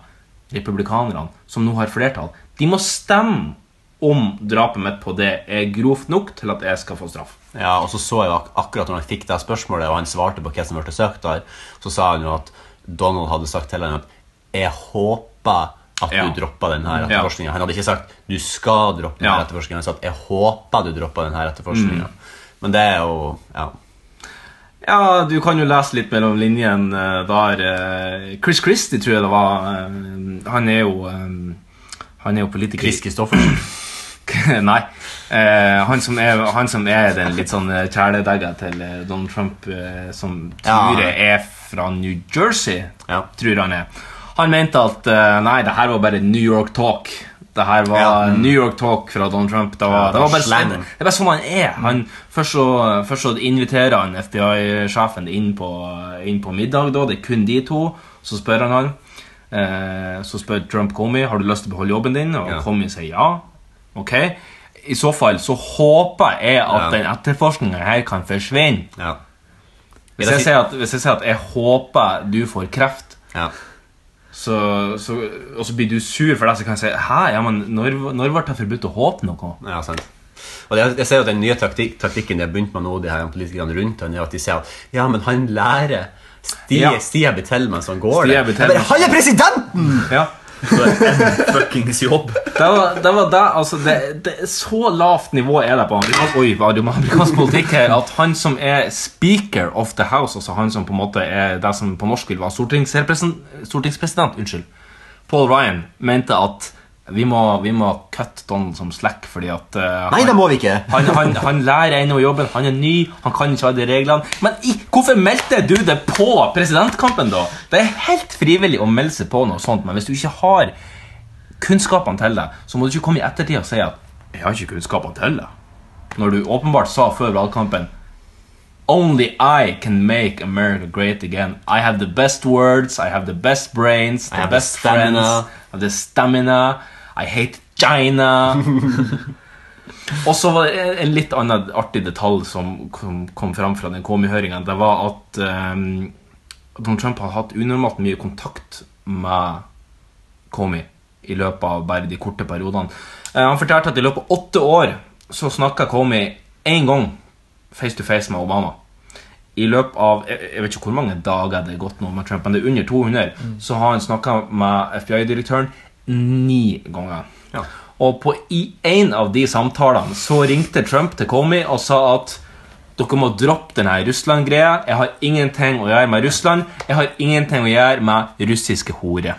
republikanerne, som nå har flertall, de må stemme om drapet mitt på det er grovt nok til at jeg skal få straff.
Ja, og så så jeg jo ak akkurat når han fikk det spørsmålet, og han svarte på hva som ble søkt der, så sa han jo at Donald hadde sagt til ham at 'jeg håper at
Ja.
du droppa den her etterforskninga'. Han hadde ikke sagt 'du skal droppe den
Ja.
her etterforskninga', han sa at 'jeg håper du droppa den her etterforskninga'. Men det er jo Ja.
Ja, du kan jo lese litt mellom linjene eh, der. eh, Chris Christie, tror jeg det var. eh, Han er jo eh, Han er jo politiker.
Chris Christoffersen.
Nei. Eh, han, som er, han som er den litt sånn eh, kjæledegga til eh, Donald Trump, eh, som
Ja.
tror jeg er fra New Jersey,
Ja.
tror han er. Han mente at eh, nei, det her var bare New York talk. Det her var
Ja, mm.
New York talk fra Donald Trump. Det var,
Ja, det
det
var
var bare,
slang.
det, det er bare sånn han er. Han, først, så, først så inviterer han FBI-sjefen inn, på- inn på middag. Da. Det er kun de to. Så spør han han. Eh, så spør Trump Comey har du lyst til å beholde jobben din. Og
Ja.
Comey sier ja. Ok. I så fall så håper jeg at
Ja.
den etterforskninga her kan forsvinne.
Ja.
Hvis jeg, sier at, hvis jeg sier at jeg håper du får kreft,
ja.
så, så, og så blir du sur for det, så kan jeg si Hæ, ja, men når, når ble det forbudt å håpe noe?
Ja, sant. Og jeg, jeg ser jo at Den nye taktik, taktikken de har begynt med nå, de her politikerne rundt han, er at de sier at ja, men han lærer. Stia,
Ja.
stia blir til mens han går
Stia
der.
blir til
Jeg bare,
mens-
Han er presidenten!
Ja.
Fuckings jobb.
Det var det, var det, altså, det, det er Så lavt nivå er det på amerikansk, oi, hva er det med amerikansk politikk her at han som er speaker of the house, altså han som på en måte er det som på norsk vil være stortingsrepresen- stortingspresident, unnskyld, Paul Ryan, mente at vi må, vi må kutte Donald som slack fordi at eh,
Nei,
han-
det må vi ikke.
Han, han, han lærer ennå jobben, han er ny, han kan ikke alle de reglene. Men i, hvorfor meldte du det på presidentkampen, da? Det er helt frivillig å melde seg på noe sånt, men hvis du ikke har kunnskapene til det, så må du ikke komme i ettertid og si at 'jeg har ikke kunnskapene til det', når du åpenbart sa før valgkampen Only I can make America great again. I have the best words, I have the best brains, the
have the
best friends,
stamina.
I have the stamina. I hate China. Og så var det en litt annen artig detalj som kom, kom fram fra den KMI-høringa. Det var at ehm, Donald Trump har hatt unormalt mye kontakt med Comey i løpet av bare de korte periodene. Eh, han fortalte at i løpet av åtte år så snakka Comey én gang face to face med Obama. I løpet av jeg, jeg vet ikke hvor mange dager det er gått nå med Trump, men det er under 200, så har han snakka med FBI-direktøren ni ganger. Og på, i en av de samtalene så ringte Trump til Comey og sa at dere må droppe denne Russland-greia. Jeg har ingenting å gjøre med Russland. Jeg har ingenting å gjøre med russiske horer.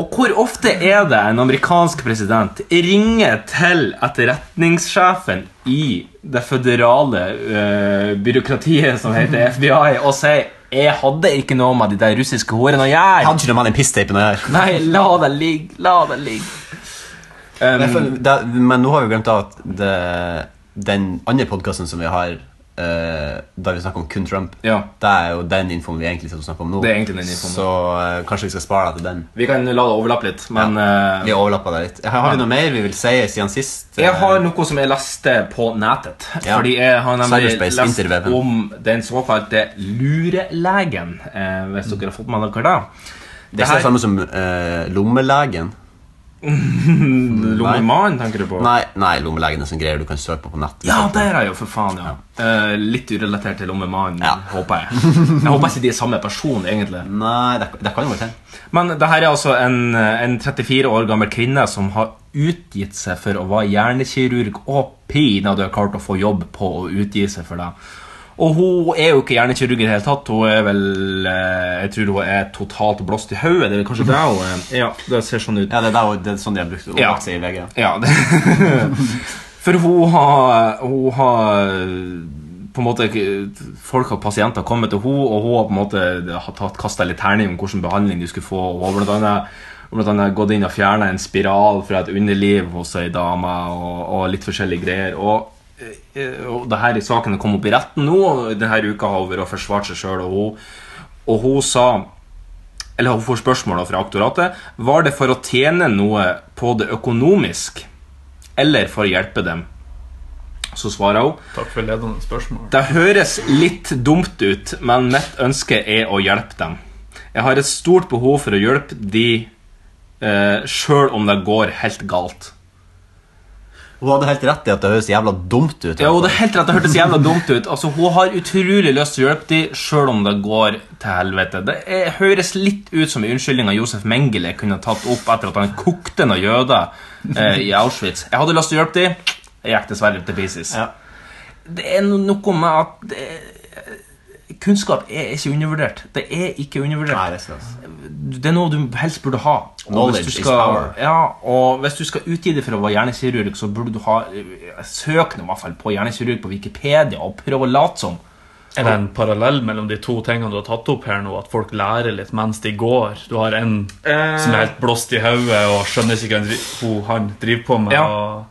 Og hvor ofte er det en amerikansk president ringer til etterretningssjefen i det føderale eh, byråkratiet som heter FBI, og sier 'Jeg hadde ikke noe med de der russiske horene å gjøre'.
Hadde ikke noe med den pissteipen å gjøre.
Nei, la det ligge. La det ligge.
Men jeg føler- det, men nå har vi glemt at det, den andre podkasten som vi har, eh, der vi snakker om kun Trump,
Um, Ja.
det er jo den infoen vi egentlig skal snakke om nå.
Det er egentlig den infoen.
Så eh, kanskje vi skal spare deg til den.
Vi kan la det overlappe litt, men eh,
Vi overlappa deg litt. Har vi noe mer vi vil si siden sist? Eh,
Jeg har noe som jeg leste på nettet.
Ja.
Fordi jeg har nemlig
Cyberspace,
lest
interweben.
om den såkalte lurelegen. Eh, hvis dere har fått med dere det.
Det er ikke det samme som eh, lommelegen.
Lommemannen, tenker du på?
sånn- Nei, nei, lommelegen er sånn greier du kan søke på på nett.
Ja, der er jo for faen, ja. Eh, litt urelatert til lommemannen,
Ja.
håper jeg. Jeg håper ikke de er samme person, egentlig.
Nei, det, det kan jo være til.
Men det her er altså en, en 34 år gammel kvinne som har utgitt seg for å være hjernekirurg og pinadø klart å få jobb på å utgi seg for det. Og hun er jo ikke hjernekirurg i det hele tatt. Hun er vel eh, Jeg tror hun er totalt blåst i hodet. Det er vel kanskje det hun er? Ja, det ser sånn ut.
Ja, det er, der, jo- det er sånn de har brukt det
Ja.
omlagt seg i VG.
Ja, det. For hun har, hun har på en måte, Folk og pasienter har kommet til hun og hun har på en måte har tatt, kastet litt terning om hvilken behandling de skulle få. Hun har blant annet, hun har blant annet gått inn og fjernet en spiral fra et underliv hos ei dame og, og litt forskjellige greier. Og, eh, og det her i saken kom opp i retten nå, og denne uka har hun vært og forsvart seg sjøl, og, hun- og hun sa eller hun får spørsmål da fra aktoratet, var det for å tjene noe på det økonomisk, eller for å hjelpe dem? Så svarer hun,
Takk for ledende spørsmål.
det høres litt dumt ut, men mitt ønske er å hjelpe dem. Jeg har et stort behov for å hjelpe de, eh, sjøl om det går helt galt.
Hun hadde helt rett i at det høres jævla dumt ut.
Ja, og det er helt rett, det hørtes jævla dumt ut. Altså, Hun har utrolig lyst til å hjelpe dem, sjøl om det går til helvete. Det er, høres litt ut som en unnskyldning av Josef Mengele kunne tatt opp etter at han kokte noen jøder eh, i Auschwitz. Jeg hadde lyst til å hjelpe dem, jeg gikk dessverre til pieces.
Ja.
Det er no- noe med at det, Kunnskap er ikke undervurdert. Det er ikke undervurdert
Nei, det er sånn.
det er noe du helst burde ha. Og
Knowledge
hvis du
is
skal,
power.
Ja, og hvis du skal utgi deg for å være hjernekirurg, så burde du ha eh, søk nå i hvert fall på hjernekirurg på Wikipedia og prøv å late som.
Er det en parallell mellom de to tingene du har tatt opp her nå? At folk lærer litt mens de går? Du har en
Eh.
som er helt blåst i hodet og skjønner ikke hva han dri- hun- han driver på med,
Ja.
og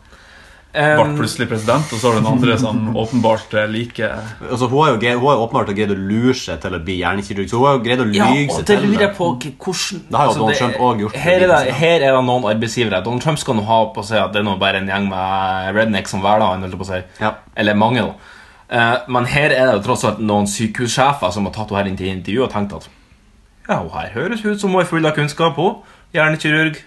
ble plutselig president, og så har du den andre som åpenbart eh, liker
Altså, hun har jo gre- hun har jo åpenbart greid å lure seg til å bli hjernekirurg. Så hun har jo greid å lyge
Ja,
seg
og det
til
lurer jeg på k- hvordan altså,
Det har jo Donald Trump også gjort. liksom.
Her er, det, her er det noen arbeidsgivere. Donald Trump skal nå ha på seg at det er nå bare en gjeng med rednecks som hverdag. han holdt på å si.
Ja.
Eller mange, da. Eh, men her er det jo tross alt noen sykehussjefer som har tatt henne her inn til intervju og tenkt at ja, hun her høres ut som hun er full av kunnskap, hun. Hjernekirurg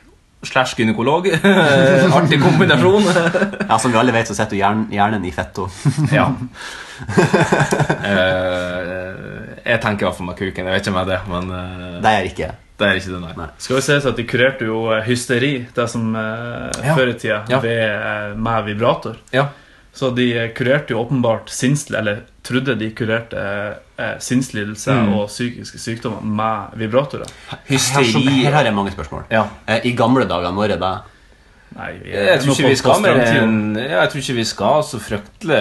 slash gynekolog. Artig kombinasjon.
Ja, Som vi alle vet, så setter hun hjern- hjernen i fetto.
ja. Eh, jeg tenker iallfall med kuken. Jeg vet ikke om jeg er det, men eh,
Det er ikke
det er ikke det, nei.
Skal jo sies at de kurerte jo eh, hysteri, det som eh,
Ja.
før i tida,
Ja.
ved, eh, med vibrator.
Ja.
Så de eh, kurerte jo åpenbart sinnsli, eller trodde de kurerte eh, sinnslidelse
Mm.
og psykiske sykdommer med vibratorer.
Her, som,
Hysteri
her har jeg mange spørsmål.
Ja.
Eh, I gamle dager, når er det?
Nei, vi er
Jeg tror
nå
ikke
på-
vi skal
på
mer
strømtiden.
enn ja, Jeg tror ikke vi skal så fryktelig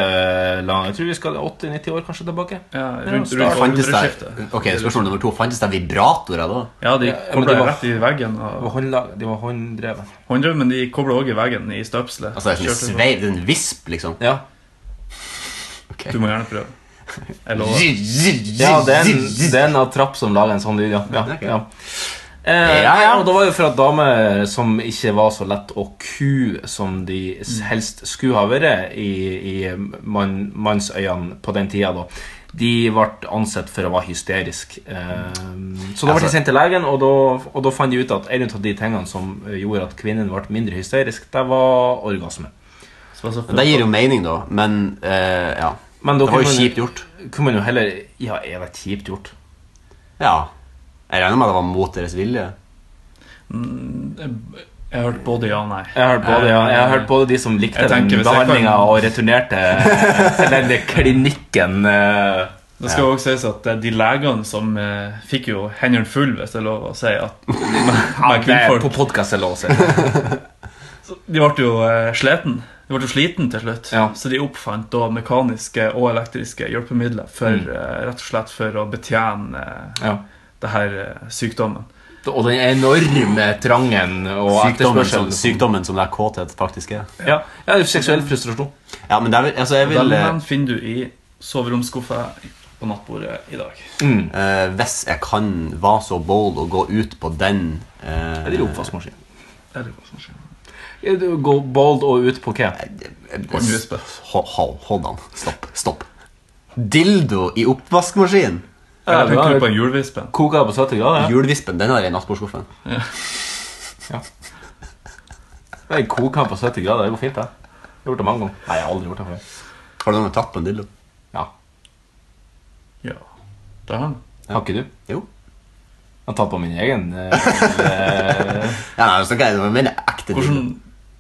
langt. Jeg tror vi skal 80-90 år kanskje tilbake.
Ja,
Ja,
rundt,
start.
rundt
Fantes det,
århundreskiftet.
ok, spørsmål nummer to. Fantes det vibratorer da?
Ja, de
Ja, men
kobla
det var-
rett i veggen.
Det var
Og
håndlag- De var hånddrevet.
hånddrev, men de kobla òg i veggen i støpselet.
Altså, det er Altså, sånn
Kjørte-
sveiv, det er en visp, liksom.
Ja.
Du må gjerne prøve. Jeg lover.
Ja, det er en, det er en attrapp som lager en sånn lyd, ja. ja, ja. Eh,
Ja, ja.
Og det var jo fra damer som ikke var så lett å ku som de s-
Mm.
helst skulle ha vært i, i mann, mannsøyene på den tida, da. De ble ansett for å være hysterisk. Eh, så
Altså-
da ble de sendt til legen, og da, og da fant de ut at en av de tingene som gjorde at kvinnen ble mindre hysterisk, det var orgasme.
Så det var så
Det gir jo mening, da, men eh, ja.
Men da
Det var jo
kunne man-
kjipt gjort.
Kunne man jo heller Ja, er det kjipt gjort?
Ja. Jeg regner med det var mot deres vilje.
Jeg har hørt både ja og nei.
Jeg har hørt både, ja. jeg har hørt både de som likte
Jeg
den
tenker hvis jeg kan-
behandlinga og returnerte til den der klinikken eh,
Det skal også sies at eh, de legene som eh, fikk jo hendene full, hvis det er lov å si at med
det er
kvinnfolk,
på podkast eller noe.
De ble jo eh, sliten. De ble jo sliten til slutt,
Ja.
så de oppfant da mekaniske og elektriske hjelpemidler for, eh, rett og slett for å betjene eh,
Ja.
det her eh, sykdommen.
Og den enorme trangen og
Sykdommen som,
etterspørselen.
sykdommen som det er kåthet faktisk er.
Ja. ja, seksuell frustrasjon.
Ja, men det er, vel- altså, jeg
Den
vil eh,
den finner du i soveromsskuffa på nattbordet i dag.
Mm.
Eh, hvis jeg kan være så bold og gå ut på den eh,
Eller oppvaskmaskin.
Eller hva som skjer.
Ja, du Gå bold og ut på hva?
Og en USB.
Hold, hold, hold an. Stopp. Stopp. Dildo i oppvaskmaskinen!
Ja,
Eller
det
tenker
var-
du på en hjulvispe?
Koka på 70 grader?
Hjulvispen, den har jeg i nattbordskuffen.
Jeg koka på 70 grader, det går fint, det. Gjort det mange ganger. Nei, jeg har aldri gjort det før.
Har du noen gang tatt på en dildo?
Ja.
Ja. Det har han.
Har ikke du?
Jo.
Jeg har tatt på min egen. eh,
Ja, nei, så kan jeg, det var mer ekte dildo.
Hvordan,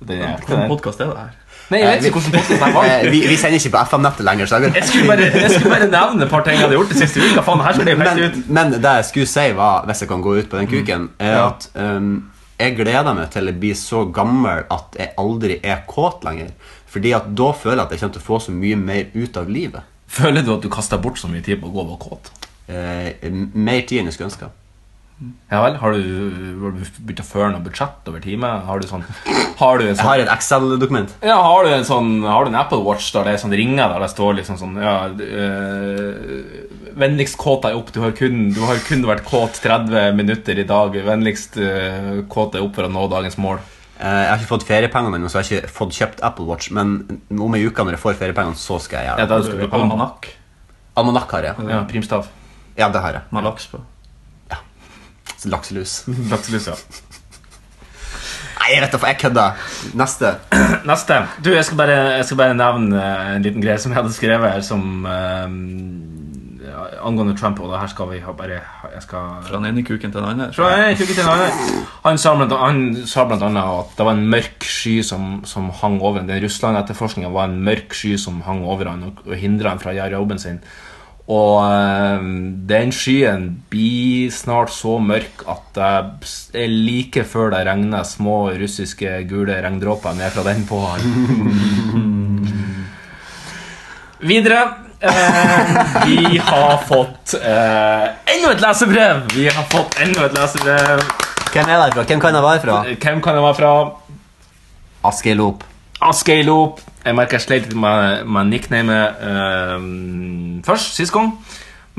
Den er ekte,
hvordan
den.
podkast er det her?
Nei, jeg vet ikke hvordan podkast den var.
Eh, vi, vi sender ikke på FM-nettet lenger, så jeg
Jeg skulle, bare, jeg skulle bare nevne et par ting jeg hadde gjort den siste uka. Faen, her skal det jo helt
men,
ut Mm.
men det jeg skulle si var, hvis jeg kan gå ut på den kuken, er at um, jeg gleder meg til å bli så gammel at jeg aldri er kåt lenger. Fordi at da føler jeg at jeg kommer til å få så mye mer ut av livet.
Føler du at du kaster bort så mye tid på å gå og være kåt?
Eh, m- mer tid enn jeg skulle ønske.
Ja vel? Har du, har du begynt å føre noe budsjett over time? Har du sånn Har du en
Jeg
sånn
har et Excel-dokument.
ja, har du en sånn Har du en Apple Watch der det er sånn ringer der det står liksom sånn ja, øh, Vennligst kåt deg opp. Du har, kun, du har kun vært kåt 30 minutter i dag. Vennligst øh, kåt deg opp for å nå dagens mål.
Eh, jeg har ikke fått feriepengene ennå, så jeg har ikke fått kjøpt Apple Watch. Men om ei uke når jeg får feriepengene, så skal jeg
Ja,
gjøre det.
det du skal på.
Almanakk.
Almanakk har jeg.
Ja, primstav.
Ja, det har jeg.
Med laks på.
Lakselus.
Lakselus, ja.
Nei, jeg vet da, for jeg kødder. Neste.
Neste. Du, jeg skal, bare, jeg skal bare nevne eh, en liten greie som jeg hadde skrevet her, som eh, ja, angående Trump. Og det her skal vi ha bare Jeg skal
Fra den ene kuken til den andre.
Fra- nei, ikke til han. han sa blant annet, han sa blant annet at det var en mørk sky som, som hang over ham. Den Russland-etterforskningen var en mørk sky som hang over han og, og hindra han fra å gjøre jobben sin. Og eh, den skyen blir snart så mørk at det er like før det regner små russiske gule regndråper ned fra den på han. Videre eh, Vi har fått eh, enda et lesebrev! Vi har fått enda et lesebrev.
Hvem er derfra? Hvem kan jeg være fra?
Hvem kan det være fra?
Askild Op.
Askøy Loop. Jeg merker jeg sleit litt med, med nicknamet eh, først, sist gang,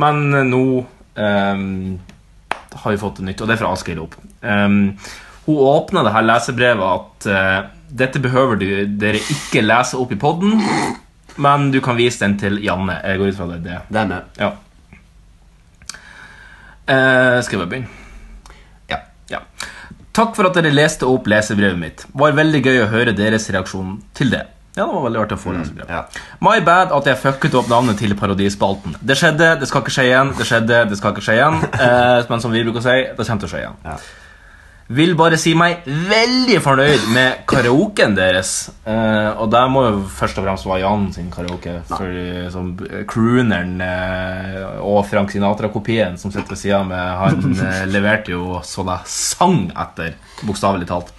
men nå eh, har vi fått det nytt, og det er fra Askøy Loop. Eh, hun åpna det her lesebrevet at eh, dette behøver du, dere ikke lese opp i podden, men du kan vise den til Janne. Jeg går ut fra det er det.
Det er med.
Ja. Eh, skal jeg bare begynne?
Ja.
Ja. Takk for at dere leste opp lesebrevet mitt. Var veldig gøy å høre deres reaksjon til det. Ja, det var veldig artig å få lesebrev.
ja.
My bad at jeg fucket opp navnet til parodispalten. Det skjedde, det skal ikke skje igjen, det skjedde, det skal ikke skje igjen. Eh, men som vi bruker å si, det kommer til å skje igjen.
Ja.
Vil bare si meg veldig fornøyd med karaoken deres. Eh, og der må jo først og fremst være Jan sin karaoke. For, eh, som eh, crooneren eh, og Frank Sinatra-kopien som sitter ved sida av meg, han eh, leverte jo så det sang etter, bokstavelig talt.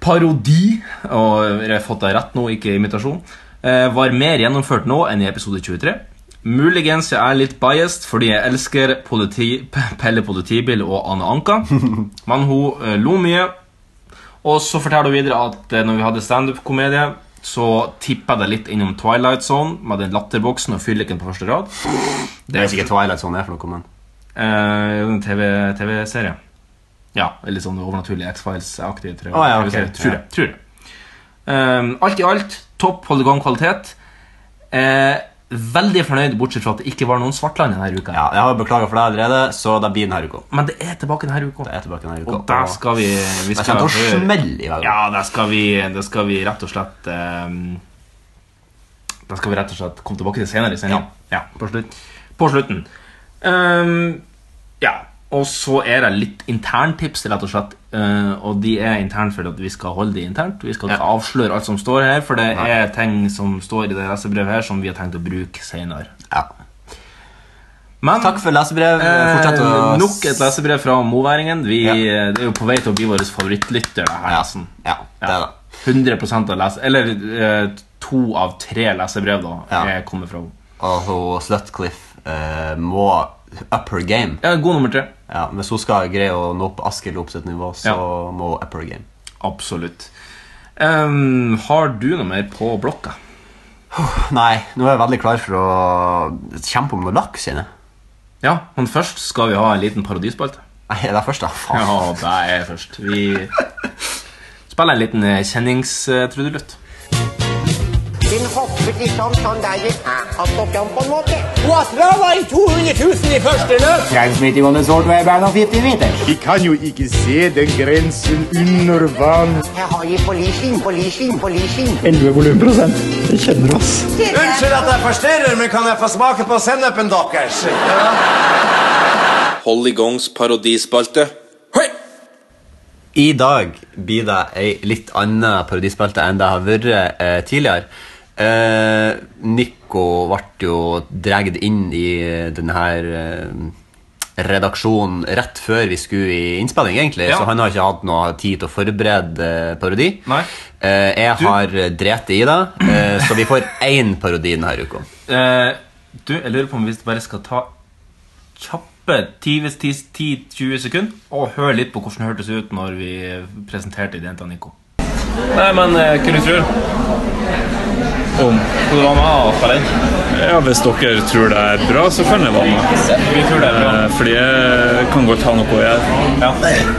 Parodi, og jeg har fått det rett nå, ikke imitasjon, eh, var mer gjennomført nå enn i episode 23. Muligens jeg er litt biased fordi jeg elsker politi, P- Pelle Politibil og Anne Anka. Men hun eh, lo mye. Og så forteller hun videre at eh, når vi hadde standup-komedie, så tippa det litt innom Twilight Zone med den latterboksen og fylliken på første rad.
Jeg vet ikke hva Twilight Zone er for noe, men
Eh, en TV- TV-serie. ja, litt sånn overnaturlig X-Files-aktig. Tror jeg.
Å, ja, ok.
TV-serie, tror jeg, tror jeg. Eh, alt i alt, topp Polygon-kvalitet. Eh, veldig fornøyd, bortsett fra at det ikke var noen Svartland denne uka.
ja, Jeg har beklaga for det allerede, så det blir denne uka.
Men det er tilbake denne uka.
Det er tilbake denne uka.
Og der skal vi, vi
Jeg kommer til å
høre-
smelle i hverandre.
Ja, der skal vi, der skal vi rett og slett um, Der skal vi rett og slett komme tilbake til senere i sendingen. Ja, på, slutt. på slutten. Ehm, ja. Og så er det litt interntips, rett og slett. eh, og de er interne fordi at vi skal holde de internt. Vi skal ikke avsløre alt som står her, for det er ting som står i det lesebrevet her som vi har tenkt å bruke senere.
Ja.
Men
Takk for lesebrev. Fortsett å
eh, nok et lesebrev fra moværingen. Vi, eh, Det er jo på vei til å bli vår favorittlytter. Det her, altså.
Ja,
nesten.
ja, det er det.
100 av lese... Eller eh, to av tre lesebrev da,
Ja.
er kommer fra henne.
Og hun Slutcliffe eh, må up her game.
Ja, god nummer tre.
Ja, Hvis hun skal greie å nå opp Askild opp sitt nivå, så
Ja.
må hun up her game.
Absolutt. Ehm, har du noe mer på blokka?
Nei, nå er jeg veldig klar for å kjempe om noe laks inne.
Ja, men først skal vi ha en liten parodispalte.
Nei, det er først, da. Faen.
Ja, det er først. Vi spiller en liten eh, kjennings-trudelutt.
Hun hoppet litt sånn, sånn der gikk opp og fram på en måte. Hun har strava i 200 000 i første løp.
Transmitting on the short wave band of 50 meters.
Vi kan jo ikke se den grensen under vann.
Jeg har gitt på leasing, på leasing, på leasing.
11 volumprosent. Det kjenner oss.
Unnskyld at jeg forstyrrer, men kan jeg få smake på sennepen deres?
Polygongs parodispalte. Høy!
I dag blir det ei litt anna parodispalte enn det har vært eh, tidligere. Eh, Nico ble jo dratt inn i denne her eh, redaksjonen rett før vi skulle i innspilling, egentlig.
Ja.
Så han har ikke hatt noe tid til å forberede eh, parodi.
Nei.
Eh, jeg har drept i det, eh, så vi får én parodi denne uka.
Eh, du, jeg lurer på om vi bare skal ta kjappe 10-20 sekunder og høre litt på hvordan det hørtes ut når vi presenterte ideen til Nico.
Nei, men eh, hva du tror Om Skal du være med avfall? Ja, hvis dere tror det er bra, så kan jeg være med. Vi tror det er bra. Fordi jeg kan godt ha noe å gjøre.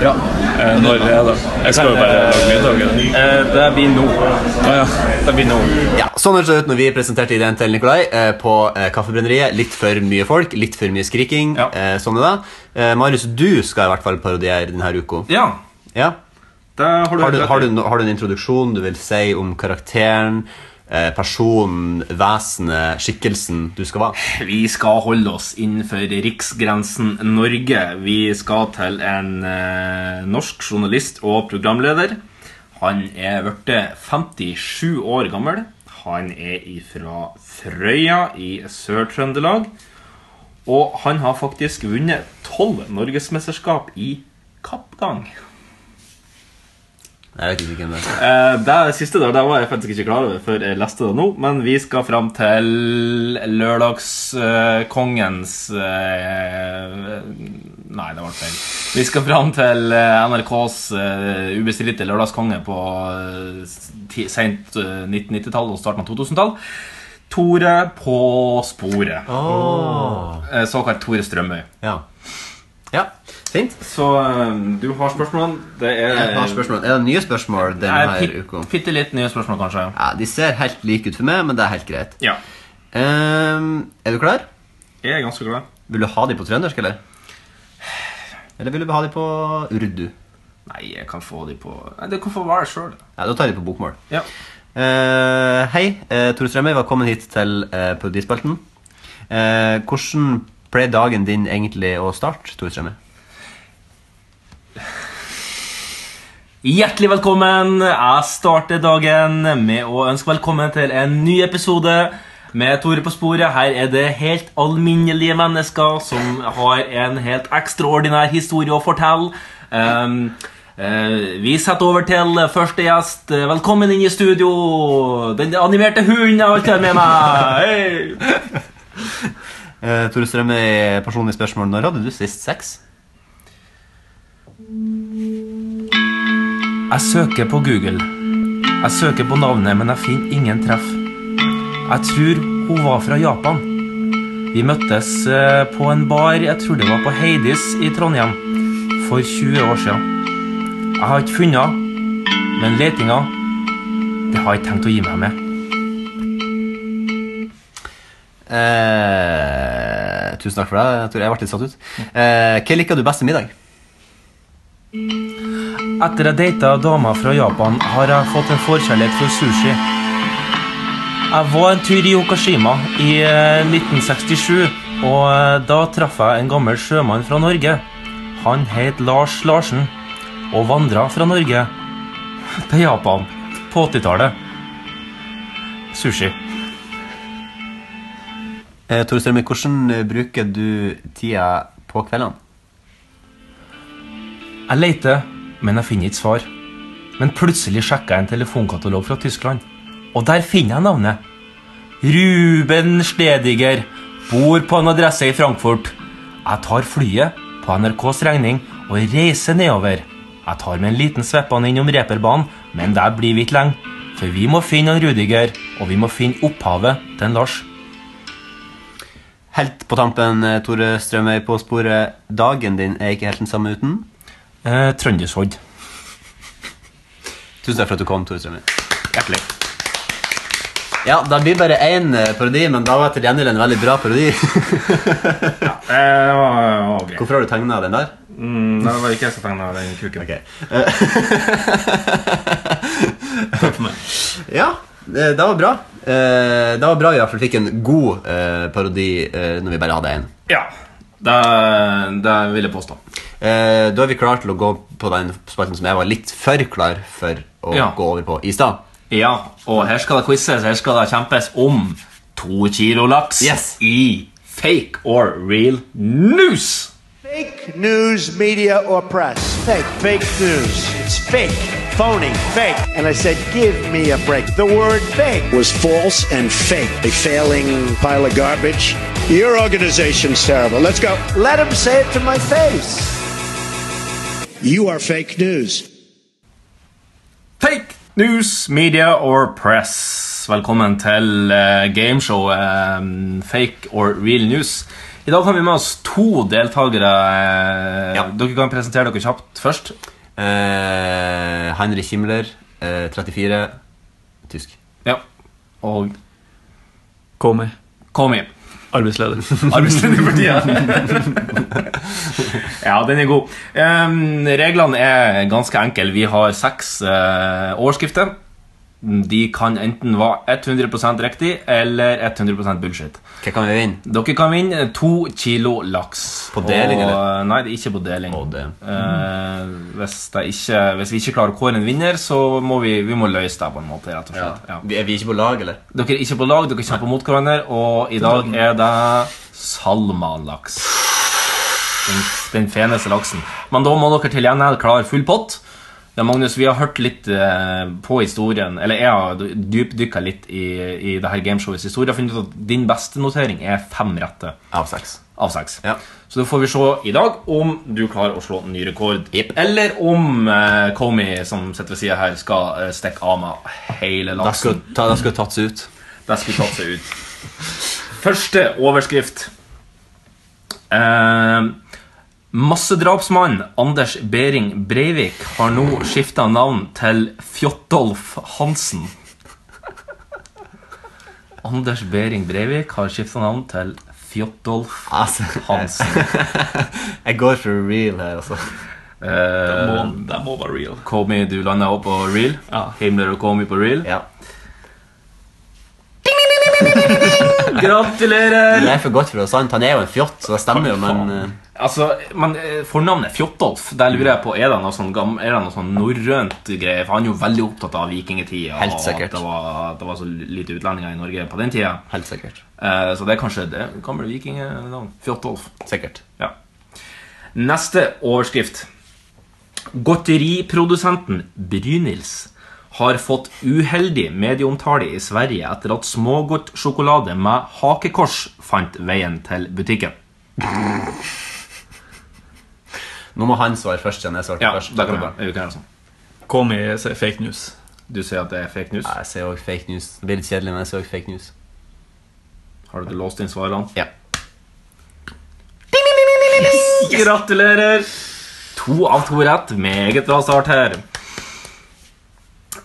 Ja. Eh, når er det? Jeg skal jo bare lage middag. eller?
Eh, Det blir nå.
Ah, ja.
Det blir nå.
Ja, Sånn hørtes det ut når vi presenterte ideen til Nikolai eh, på eh, Kaffebrenneriet. Litt for mye folk, litt for mye skriking.
Ja.
Eh, sånn er det. Eh, Marius, du skal i hvert fall parodiere denne uka.
Ja.
Ja.
Da har du,
Har, du, har, du, no- har du en introduksjon du vil si om karakteren, eh, personen, vesenet, skikkelsen du skal være?
Vi skal holde oss innenfor riksgrensen Norge. Vi skal til en eh, norsk journalist og programleder. Han er blitt 57 år gammel. Han er ifra Frøya i Sør-Trøndelag. Og han har faktisk vunnet tolv norgesmesterskap i kappgang.
Jeg vet ikke hvem det er.
Eh, Det siste der, det var jeg faktisk ikke klar over før jeg leste det nå, men vi skal fram til lørdagskongens eh, Nei, det ble feil. Vi skal fram til eh, NRKs eh, ubestridte lørdagskonge på eh, ti- sent eh, 1990-tall og starten av 2000-tall. Tore på sporet. Eh, Såkalt Tore Strømøy.
Ja. ja. Fint.
Så eh, du har spørsmålene. Det er
Jeg har spørsmål. Er det nye spørsmål denne uka?
Bitte litt nye spørsmål, kanskje.
Ja, de ser helt like ut for meg, men det er helt greit.
Ja.
Ehm, er du klar?
Jeg er ganske glad.
Vil du ha de på trøndersk, eller? Eller vil du ha de på urdu?
Nei, jeg kan få de på Nei, det kan få være sjøl.
Ja, Da tar jeg de på bokmål.
Ja.
Eh, hei, uh, Tore Strømøy, velkommen hit til uh, Parodispalten. Eh, hvordan pleier dagen din egentlig å starte, Tore Strømøy?
Hjertelig velkommen. Jeg starter dagen med å ønske velkommen til en ny episode med Tore på sporet. Her er det helt alminnelige mennesker som har en helt ekstraordinær historie å fortelle. Ehm, eh, vi setter over til første gjest. Velkommen inn i studio. Den animerte hunden jeg alltid har med meg. Hei.
Eh, Tore Strømøy, personlig spørsmål. Når hadde du sist sex?
Jeg søker på Google. Jeg søker på navnet, men jeg finner ingen treff. Jeg tror hun var fra Japan. Vi møttes eh, på en bar, jeg tror det var på Heidis i Trondheim, for 20 år siden. Jeg har ikke funnet henne, men letinga, det har jeg ikke tenkt å gi meg med.
Eh, tusen takk for det, Tor. Jeg ble litt satt ut. Eh, hva liker du best til middag?
Etter jeg data dama fra Japan, har jeg fått en forkjærlighet for sushi. Jeg var en tur i Okashima i eh, 1967, og eh, da traff jeg en gammel sjømann fra Norge. Han het Lars Larsen, og vandra fra Norge til Japan på 80-tallet. Sushi.
Eh, Tore Strømme, hvordan eh, bruker du tida på kveldene?
Jeg leter, men jeg finner ikke svar. Men plutselig sjekker jeg en telefonkatalog fra Tyskland, og der finner jeg navnet. Ruben Stediger bor på en adresse i Frankfurt. Jeg tar flyet på NRKs regning og reiser nedover. Jeg tar med en liten sveppene innom reperbanen, men der blir vi ikke lenge. For vi må finne han Rudiger, og vi må finne opphavet til en Lars.
Helt på tampen, eh, Tore Strømøy, på sporet. Dagen din er ikke helt den samme uten.
Eh, Trøndersodd.
Tusen takk for at du kom, Tore Strømøy. Hjertelig. Ja, det blir bare én eh, parodi, men da var til gjengjeld en veldig bra parodi.
Eh, Det var, greit.
Hvorfor har du tegna den der?
det var ikke jeg som tegna den kuken.
Ja, det, det var bra. Eh, det var bra vi i hvert fall fikk en god eh, parodi eh, når vi bare hadde én.
Ja. Det, det vil jeg påstå.
Eh, da er vi klare til å gå på den spalten som jeg var litt for klar for å
Ja.
gå over på i stad.
Ja, og her skal det quizes, her skal det kjempes om to kilo laks
Yes.
i fake or real news.
Fake news, media, or press. Fake. Fake news. It's fake. Phony. Fake. And I said, give me a break. The word fake was false and fake. A failing pile of garbage. Your organization's terrible. Let's go. Let him say it to my face. You are fake news.
Fake news, media or press. Velkommen til eh, gameshowet eh, Fake or real news. I dag har vi med oss to deltakere. eh,
Ja.
Dere kan presentere dere kjapt først.
Eh, Heinrich Himmler, eh, 34, tysk.
Ja. Og
Kom med.
kom igjen.
Arbeidsleder.
Arbeidsledig for tida. ja, den er god. Em, reglene er ganske enkle. Vi har seks eh, overskrifter. De kan enten være 100 riktig eller 100 bullshit.
Hva kan vi vinne?
Dere kan vinne to kilo laks.
På deling,
Og-
eller?
Nei, det er ikke på deling.
Å, det.
Eh, hvis, det ikke, hvis vi ikke klarer å kåre en vinner, så må vi, vi må løse det på en måte. rett og
Ja.
slett. Ja.
Vi- Er vi ikke på lag, eller?
Dere er ikke på lag, dere kjemper mot hverandre, og i dag er det salmalaks. Den, den feneste laksen. Men da må dere til gjengjeld klare full pott. Ja, Magnus, vi har hørt litt eh, på historien Eller jeg har dypdykka litt i, i det her gameshowets historie. Jeg har funnet ut at din beste notering er fem rette
Av seks.
av seks.
Ja.
Så da får vi se i dag om du klarer å slå en ny rekord.
Jepp.
Eller om eh, Comey, som sitter ved sida her, skal eh, stikke av med hele
Da
laksen.
skal ta- da skal tas ut.
Det skulle tatt seg ut. Første overskrift. Eh, massedrapsmann Anders Behring Breivik har nå skifta navn til Fjotolf Hansen. Anders Behring Breivik har skifta navn til Fjotolf
Altså,
Hansen.
jeg går for real her, altså.
Eh,
Må, det må være real.
Komi, du landa opp på real.
Ja.
Himmler og Komi på real.
Ja.
Gratulerer!
Det er for godt for å være sant. Han er jo en fjott, så det stemmer jo, men eh,
Altså, men eh, Fornavnet Fjotolf der lurer jeg på, er det noe sånn, gam- er det noe sånn norrønt greier? For han er jo veldig opptatt av vikingtida.
Helt
Og
sikkert.
at det var, det var så lite utlendinger i Norge på den tida.
Helt sikkert.
Eh, så det er kanskje det gamle vikingnavn. Fjotolf.
Sikkert.
Ja. Neste overskrift. Godteriprodusenten Brynils har fått uheldig medieomtale i Sverige etter at smågodtsjokolade med hakekors fant veien til butikken.
Nå må han svare først, siden jeg svarte
Ja,
først.
det kan vi gjøre. Vi kan gjøre sånn.
Kom i sier fake news.
Du sier at det er fake news?
Nei, jeg ser også fake news. Det blir litt kjedelig, men jeg ser også fake news.
Har du låst inn svarene?
Ja.
Yes! Gratulerer! To av to rett. Meget bra start her.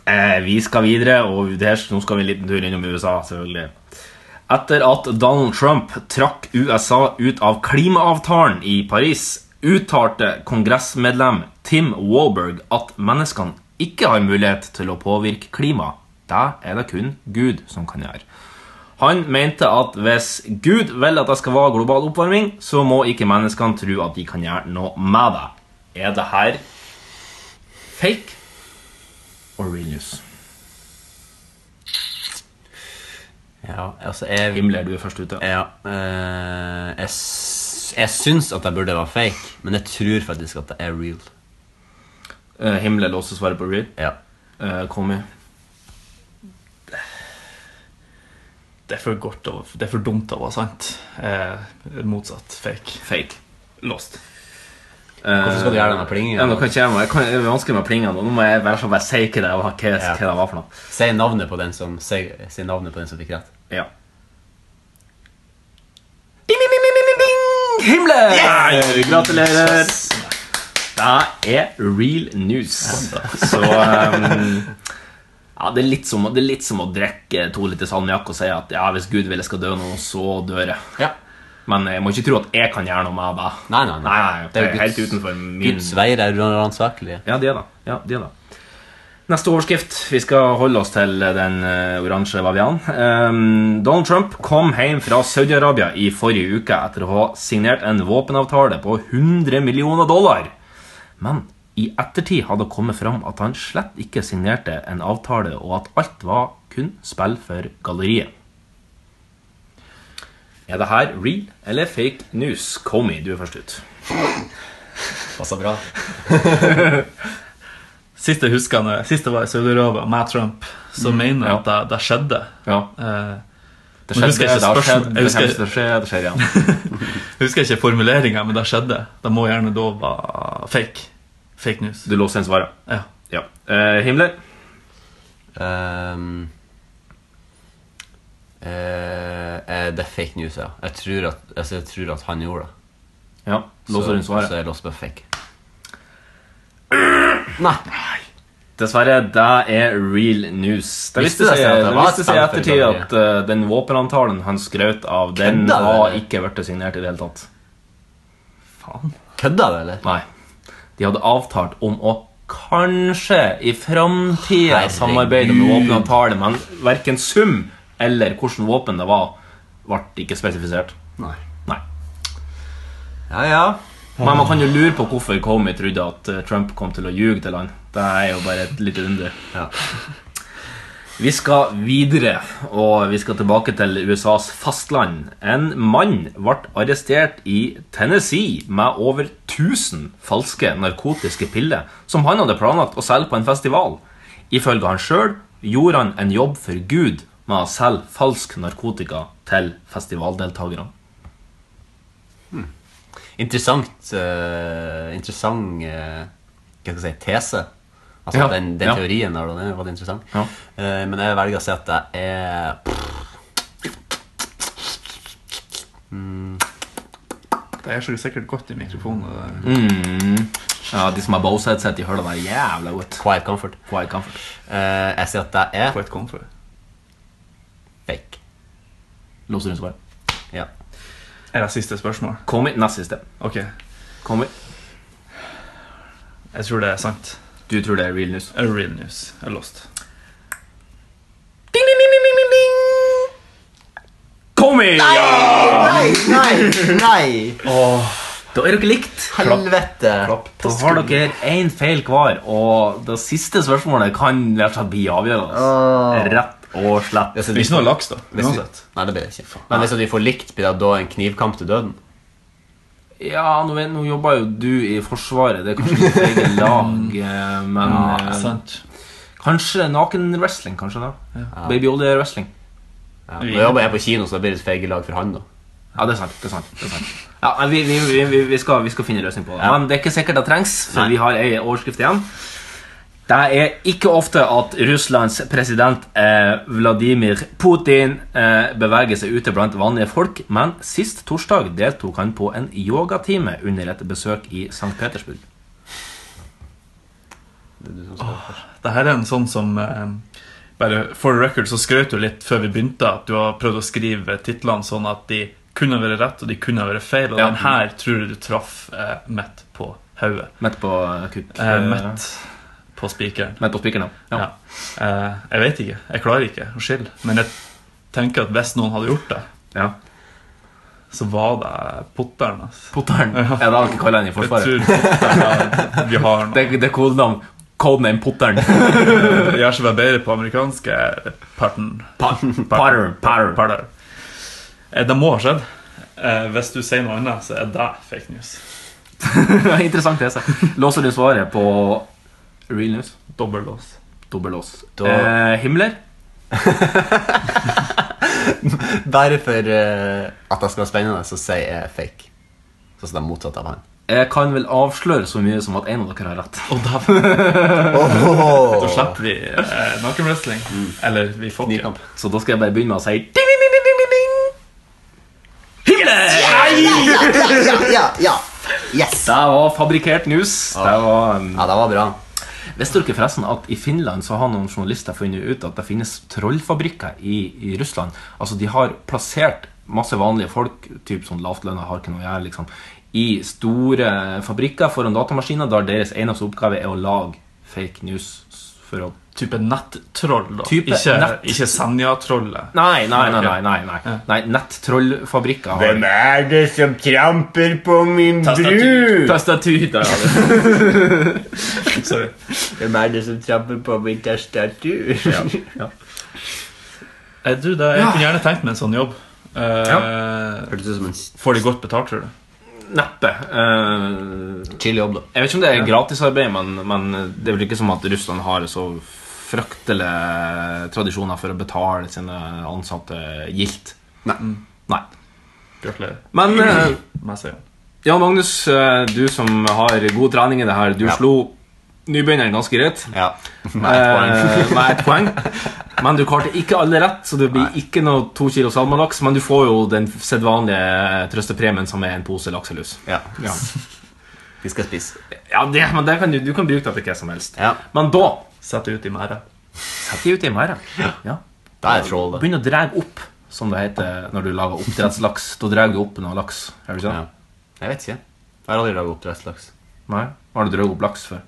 Eh, vi skal videre, og det her, nå skal vi en liten tur innom USA, selvfølgelig. Etter at Donald Trump trakk USA ut av klimaavtalen i Paris, uttalte kongressmedlem Tim Walberg at menneskene ikke har mulighet til å påvirke klimaet. Det er det kun Gud som kan gjøre. Han mente at hvis Gud vil at det skal være global oppvarming, så må ikke menneskene tro at de kan gjøre noe med det. Er det her fake or real news?
Ja, altså jeg
Himmler, du er først ute.
Ja. eh, jeg, s- jeg syns at jeg burde være fake, men jeg tror faktisk at det er real.
Eh, Himmler låser svaret på real.
Ja.
Eh, kom igjen.
Det er for godt og det er for dumt å være sant. Eh, motsatt fake.
Fake. Låst.
Hvorfor skal du gjøre denne plingen?
Eh, Ja, nå kan ikke jeg, jeg kan, det er vanskelig med plingene. Nå må jeg bare, så bare si hva det, var, hva, hva det var for noe.
Si navnet på den som, si, si navnet på den som fikk rett.
Ja. Bing, bing, bing, bing, bing, bing! Himmler!
Yes!
Gratulerer. Det er real news. Så um, ja, det, er litt som, å- det er litt som å drikke to liter salmiakk og si at ja, hvis Gud vil jeg skal dø nå, så dør jeg. Men jeg må ikke tro at jeg kan gjøre noe med det.
Nei, nei, nei.
Nei, nei,
Det er jo
det er helt
Guds-
utenfor min-
Guds veier er uransakelige.
Ja, det er det. Ja, det er det. Neste overskrift. Vi skal holde oss til den eh, oransje bavianen. Ehm, Donald Trump kom hjem fra Saudi-Arabia i forrige uke etter å ha signert en våpenavtale på 100 millioner dollar. Men i ettertid hadde det kommet fram at han slett ikke signerte en avtale, og at alt var kun spill for galleriet. Er det her real eller fake news? Comey, du er først ut.
Passa bra.
Siste huskende, siste var i Saudi-Arabia med Trump, som mener at det, det skjedde. Eh,
Mm, Det skjedde,
men husker
det
jeg ikke
har skjedd,
spørsmål-
det
jeg husker-
kommer til å skje, det skjer igjen.
Jeg husker ikke formuleringa, men det skjedde. Det må gjerne da være fake. Fake news.
Du låser inn svaret.
Ja.
Ja. Eh, Himmler?
Ehm, eh, eh, det er fake news, ja. Jeg tror at, altså, jeg tror at han gjorde det.
Ja. Låser inn
så,
svaret.
så jeg låser på fake.
Dessverre, det er real news. Det visste
Visste det
seg
seg at det
det
var
viste seg i
stand for
ettertid
galleri.
at eh, den våpenavtalen han skrøt av, den
Kødda du,
var
eller?
ikke blitt signert i det hele tatt.
Faen.
Kødda du, eller?
Nei. De hadde avtalt om å kanskje i framtida
Herregud.
samarbeide om en våpenavtale, men verken sum eller hvordan våpen det var, ble ikke spesifisert.
Nei.
Nei.
Ja, ja.
Men man kan jo lure på hvorfor Comey trodde at eh, Trump kom til å ljuge til han. Det er jo bare et lite under.
Ja.
Vi skal videre, og vi skal tilbake til USAs fastland. En mann ble arrestert i Tennessee med over 1000 falske narkotiske piller som han hadde planlagt å selge på en festival. Ifølge han sjøl gjorde han en jobb for Gud med å selge falsk narkotika til festivaldeltakerne.
Interessant eh, Interessant eh, Hva skal jeg si, tese Altså
Ja,
den, den
ja.
teorien der, da, den var interessant
Ja.
Eh, Men jeg velger å si at det er
Det er så sikkert godt i mikrofonen. eh, det
Mm.
der.
Ja, De som har Bose-headset, de hører det der jævla godt.
Quiet Comfort
Quiet comfort.
Eh, Jeg sier at det er
Quiet comfort.
fake
Låser rundt svaret.
Ja
Er det siste spørsmål?
Kom i nest siste.
Ok.
Kom i.
Jeg tror det er sant.
Du tror det er real news?
Er Real news. Jeg er lost.
Ding, ding, ding, ding, ding, ding, ding. Kom i! Ja!
Nei, nei, nei
Da er dere likt.
Helvete
Da har dere én feil hver, og det siste spørsmålet kan rett og slett bli avgjørende. Rett og slett.
Hvis
Det er ikke noe laks, da. Uansett.
Nei, det blir det ikke Men hvis de får likt Blir det da en knivkamp til døden?
Ja, nå, vet- nå jobber jo du i Forsvaret, det er kanskje ditt eget lag, eh, men
Ja,
altså.
eh,
sant.
Kanskje naken-wrestling, kanskje? da Babyolje-wrestling.
Ja, Nå jobber jeg på kino Så da blir det et fake lag for han da
Ja, det er sant. det er sant, det er sant. Ja, men vi, vi, vi, vi, vi, skal, vi skal finne en løsning på det. Men det er ikke sikkert det trengs, for
Nei.
vi har ei overskrift igjen. Det er ikke ofte at Russlands president eh, Vladimir Putin eh, beveger seg ute blant vanlige folk, men sist torsdag deltok han på en yogatime under et besøk i St. Petersburg.
Det her er en sånn som eh, Bare for the record så skrøt du litt før vi begynte at du har prøvd å skrive titlene sånn at de kunne være rett og de kunne være feil. Og
Ja.
den her tror jeg du traff eh, midt på hodet.
Midt på kuk.
Eh, midt på spikeren.
Midt på spikeren, ja.
ja. Eh, jeg vet ikke. Jeg klarer ikke å skille. Men jeg tenker at hvis noen hadde gjort det, så var det potteren. Altså.
Potteren? Ja, det har vi ikke kalt han i Forsvaret.
Jeg tror potteren er- vi har
Det, det er kodenavn. Codename Potteren.
Jeg er ikke vært bedre på amerikansk. eh, Pattern. Pattern. Pattern. Eh, Det må ha skjedd. Eh, Hvis du sier noe annet, så er det fake news.
Interessant tese. Låser du svaret på real news?
Dobbellås.
Dobbellås.
Da-
Eh, Himmler?
Bare for eh, at det skal være spennende, så sier jeg fake. Sånn som det er motsatt av han.
Jeg kan vel avsløre så mye som at en av dere har rett.
Da slipper vi eh, nakenwrestling. Eller vi får ikke.
Så da skal jeg bare begynne med å si
Ja, ja.
Yes! Det var fabrikkert news. Det var,
Mm.
ja, det var bra. Visste dere forresten at i Finland så har noen journalister funnet ut at det finnes trollfabrikker i, i Russland? Altså De har plassert masse vanlige folk, typ sånn lavtlønna, har ikke noe å gjøre, liksom, i store fabrikker foran datamaskiner der deres eneste oppgave er å lage fake news. For å
Type nettroll, da.
Type
ikke
nett-
ikke Senja-trollet.
Nei, nei, nei. nei, nei, nei. nei Nettrollfabrikker har
Hvem
er det som tramper på min brud?
Tastatur. Der, ja,
Sorry.
Hvem er det som tramper på min tastatur?
Eh, Du, det, jeg kunne gjerne tenkt meg en sånn jobb. Eh, Får de godt betalt, tror du?
Neppe. Eh,
Chill jobb, da.
Jeg vet ikke om det er
Ja.
gratisarbeid, men, men det er vel ikke som at Russland har så fryktelige eh, tradisjoner for å betale sine ansatte gildt. Nei.
Gratulerer.
Men eh,
Meg sier han.
Jan Magnus, eh, du som har god trening i det her, du slo nybegynneren ganske greit. Ja.
Med ett poeng.
med ett poeng. Men du klarte ikke alle rett, så det blir ikke noe to kilo salmalaks. Men du får jo den sedvanlige eh, trøstepremien, som er en pose lakselus. Ja.
Vi skal spise.
Ja, det, men det kan du, du kan bruke det til hva som helst. Men da Sett det ut i merda. Sett det ut i merda. Ja.
Det er troll, det.
Begynn å dra opp, som det heter når du lager oppdrettslaks. Da drar du opp noe laks. Er du ikke?
Jeg vet ikke. Jeg har aldri laget oppdrettslaks.
Nei? Har du dratt opp laks før?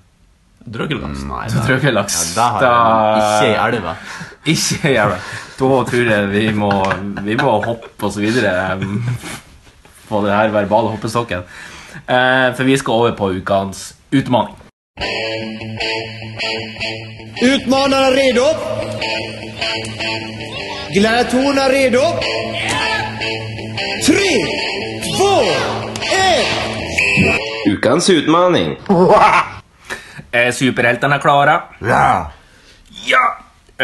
Drøggelaks?
Mm, Nei,
Du tror ikke laks?
Ja, det har jeg. Ikke i elva.
Ikke i elva. Da tror jeg vi må, vi må hoppe oss videre em, på det her verbale hoppestokken. Eh, for vi skal over på ukens utfordring.
Utmanarna redo? Gladiatorerna redo? Tre, två, ett!
Ukens utfordring. Er superheltene klare?
Ja.
Ja!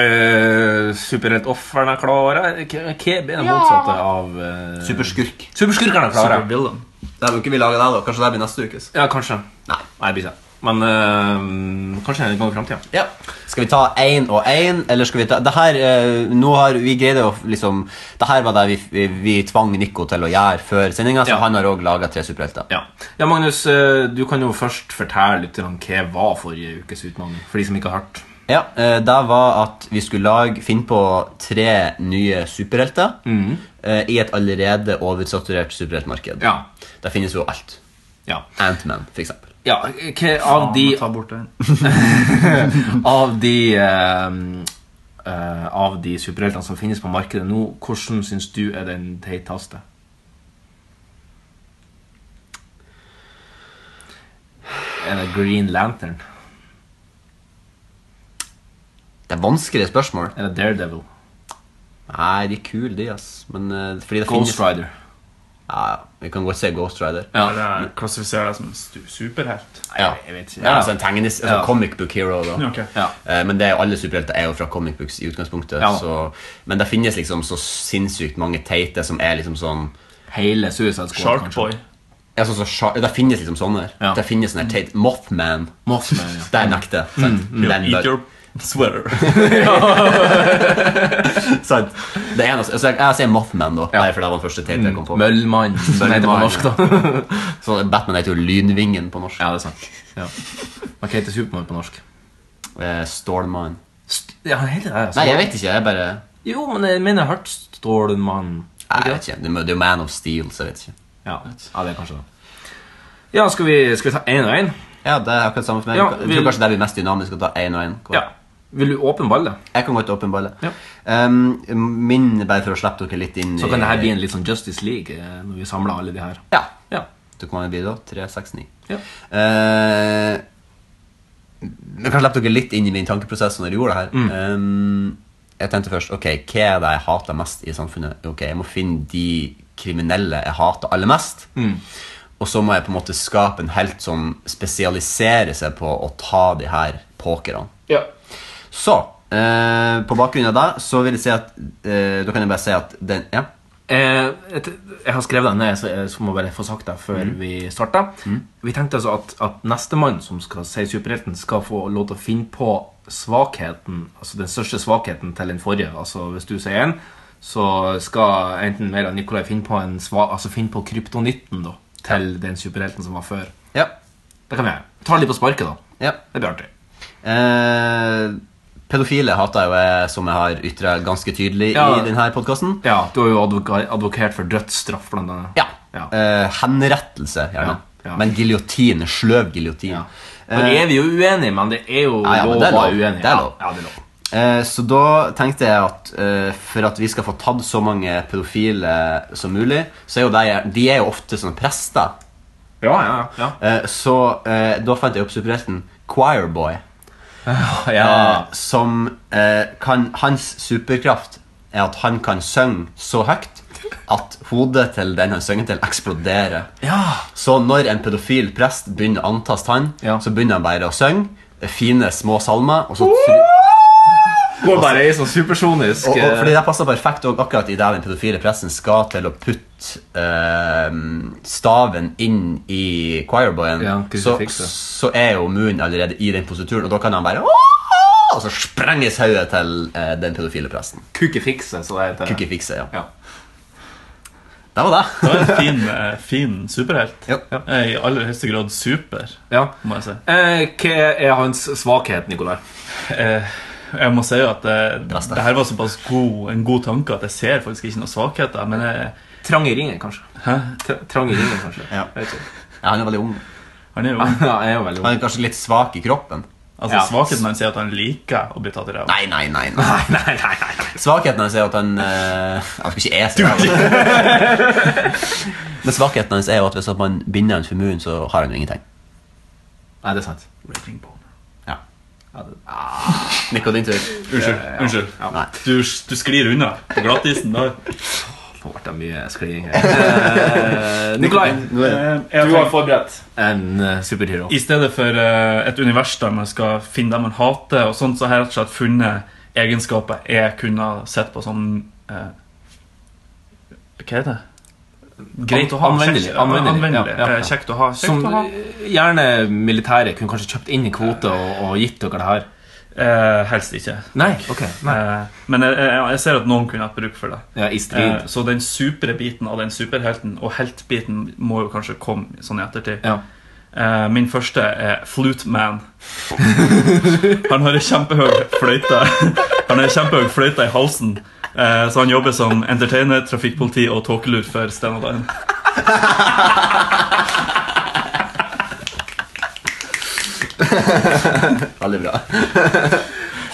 Eh, Superheltofrene klare? K- Hva er det
Ja.
motsatte av eh,
Superskurk.
Superskurkene klare.
Supervillain. Det er jo ikke vi lager det, da. Kanskje det blir neste ukes.
Ja, kanskje. Nei, Nei det blir ikke. det. Men eh, kanskje en gang i framtida.
Ja. Skal vi ta én og én, eller skal vi ta det her, eh, Nå har vi greid å liksom Det her var det vi, vi, vi tvang Nico til å gjøre før sendinga, så han har òg laga tre superhelter.
Ja. ja, Magnus, eh, du kan jo først fortelle litt om hva var forrige ukes utfordring. For de som ikke har hørt.
Ja, eh, Det var at vi skulle lage, finne på tre nye superhelter
Mm.
eh, i et allerede oversaturert superheltmarked.
Ja.
Der finnes jo alt.
Ja.
Antman, for eksempel.
Ja, hva av de
ta bort den.
Av de eh, eh, Av de superheltene som finnes på markedet nå, hvordan syns du er den teiteste? Er det Green Lantern?
Det er vanskelige spørsmål.
Er det Daredevil?
Nei, de er kule, de, ass. Men, eh, fordi det
Ghost
finnes...
Rider.
Ja, ja. vi kan godt si Ghost Rider.
Ja.
Eller klassifiserer deg som en stu- superhelt?
Ja.
jeg vet ikke.
Ja, altså en tegnis, altså
Ja.
comic book hero da.
Ja, ok. Ja.
Eh, Men det er jo alle superhelter er jo fra comic books i utgangspunktet
Ja.
så, Men det finnes liksom så sinnssykt mange teite Som er liksom sånn
Hele Suicide Squad,
Shark
kanskje.
Boy Jeg synes så sja- det finnes liksom sånne. her. Det finnes sånne her teit Mothman.
Mothman, ja.
Der nekter jeg. sant?
Mm, mm.
Den
Eat
bør-
your sweater.
Sant. Det ene, altså, jeg, jeg sier Mothman, da. Nei, for det var den første teite jeg kom på.
Møllmann, som heter på norsk, da.
så Batman heter jo Lynvingen på norsk.
Ja, det er sant. Ja. Man kan hete Supermann på norsk.
Eh, Stålmann.
Ja, hele det, altså.
Nei, jeg vet ikke. Jeg bare
Jo, men jeg mener jeg har hørt Stålmann.
Nei, jeg vet ikke. Det er jo- det er jo Man of Steel, så jeg vet ikke.
Ja, ja, det er kanskje det. Ja, skal vi, skal vi ta én og én?
Ja, det er akkurat samme for meg.
Ja,
jeg
vil-
tror kanskje det blir mest dynamisk å ta én og én.
Ja. Vil du åpne ballet?
Jeg kan godt åpenbare. Um, min, bare for å slippe dere litt inn
Så kan det her bli en
litt
litt sånn Justice League eh, når vi samler alle de her.
Ja.
ja.
Det kan bli da 369.
Ja.
Eh, jeg kan slippe dere litt inn i min tankeprosess når jeg gjorde det
Mm.
her. Um, jeg tenkte først ok, hva er det jeg hater mest i samfunnet. Ok, Jeg må finne de kriminelle jeg hater aller mest.
Mm.
Og så må jeg på en måte skape en helt som spesialiserer seg på å ta de her pokerne.
Ja.
Så, eh, på bakgrunn av det, så vil jeg si at eh, Da kan jeg bare si at den Ja.
Eh, et, jeg har skrevet den ned, så jeg så må jeg bare få sagt det før
Mhm.
vi starter. Vi tenkte altså at, at nestemann som skal si superhelten, skal få lov til å finne på svakheten, altså den største svakheten til den forrige. Altså Hvis du sier en, så skal enten mer av Nikolai finne på, en sva, altså finne på kryptonitten da, til den superhelten som var før.
Ja.
Det kan vi gjøre. Vi tar litt på sparket, da.
Ja.
Det blir artig.
Eh, pedofile hater jo jeg, som jeg har ytra ganske tydelig
Ja.
i denne podkasten.
Ja, du har jo advoka advokert for dødsstraff, blant annet.
Ja. Eh, henrettelse, gjerne. Men giljotin. Sløv giljotin. Eh,
Nå er vi jo uenige, men det er jo
Ja, ja, men
lov
det er
å være
lov.
uenig.
Det er lov.
Ja, ja, det er lov.
Eh, Så da tenkte jeg at eh, for at vi skal få tatt så mange pedofile som mulig, så er jo de, de er jo ofte sånne prester.
Ja, ja, ja.
Eh, Så eh, da fant jeg opp superhelten Choirboy. Eh,
ja.
Som eh, kan Hans superkraft er at han kan synge så høyt at hodet til den han synger til, eksploderer. Så når en pedofil prest begynner å antaste han, så begynner han bare å synge fine, små salmer, og så tru-
Går bare i sånn supersonisk
og, og,
eh,
fordi det passer perfekt også, akkurat i det den pedofile pressen skal til å putte eh, staven inn i choirboyen,
Ja,
så,
krusifikset.
så er jo munnen allerede i den posituren, og da kan han bare og så sprenges hodet til eh, den pedofile presten.
Kukefikse, så det heter.
Kukefikse, ja.
ja.
Det var det.
Det var en fin, eh, fin superhelt. Eh, I aller høyeste grad super,
ja.
må jeg si.
Eh, hva er hans svakhet, Nikolai?
Eh, jeg må si at eh, det her var såpass god, en god tanke at jeg ser faktisk ikke noen svakheter. Men jeg,
Trang i ringen, kanskje.
Hæ?
Trang i ringen, kanskje.
Ja.
Jeg vet ikke.
han er veldig ung.
Han er jo ung.
Ja, jeg er jo veldig ung.
Han er kanskje litt svak i kroppen.
Altså, Svakheten hans er at han liker å bli tatt i ræva.
Nei, nei, nei. nei. Svakheten hans er jo at han eh, Jeg skal ikke ese det. Men svakheten hans er jo at hvis at man binder han for munnen, så har han jo ingenting.
Nei, det er sant.
Ja.
det-
Nico, din tur.
Unnskyld. unnskyld. Du, du sklir unna på glattisen. Da.
Nå ble det mye skliding her. Eh, Nikolai,
jeg
du har forberedt en eh, superhero.
I stedet for eh, et univers der man skal finne det man hater, og sånt, så har jeg rett og slett funnet egenskaper jeg kunne ha sett på som eh, Hva er det? Greit å ha.
Anvendelig.
Kjekt, anvendelig.
Ja, ja, ja.
Eh, Kjekt å ha. Kjekt
Som
å ha.
gjerne militæret kunne kanskje kjøpt inn i kvote og, og gitt dere det her.
Eh, helst ikke.
Nei, ok. Nei.
Eh, men jeg, jeg, jeg ser at noen kunne hatt bruk for det.
Ja, i strid.
Eh, så den supre biten av den superhelten og heltbiten må jo kanskje komme sånn i ettertid. Eh, min første er Flute Man. Han har ei kjempehøy fløyte Han har ei kjempehøy fløyte i halsen. Eh, så han jobber som entertainer, trafikkpoliti og tåkelur for Sten og Dagen.
Veldig bra.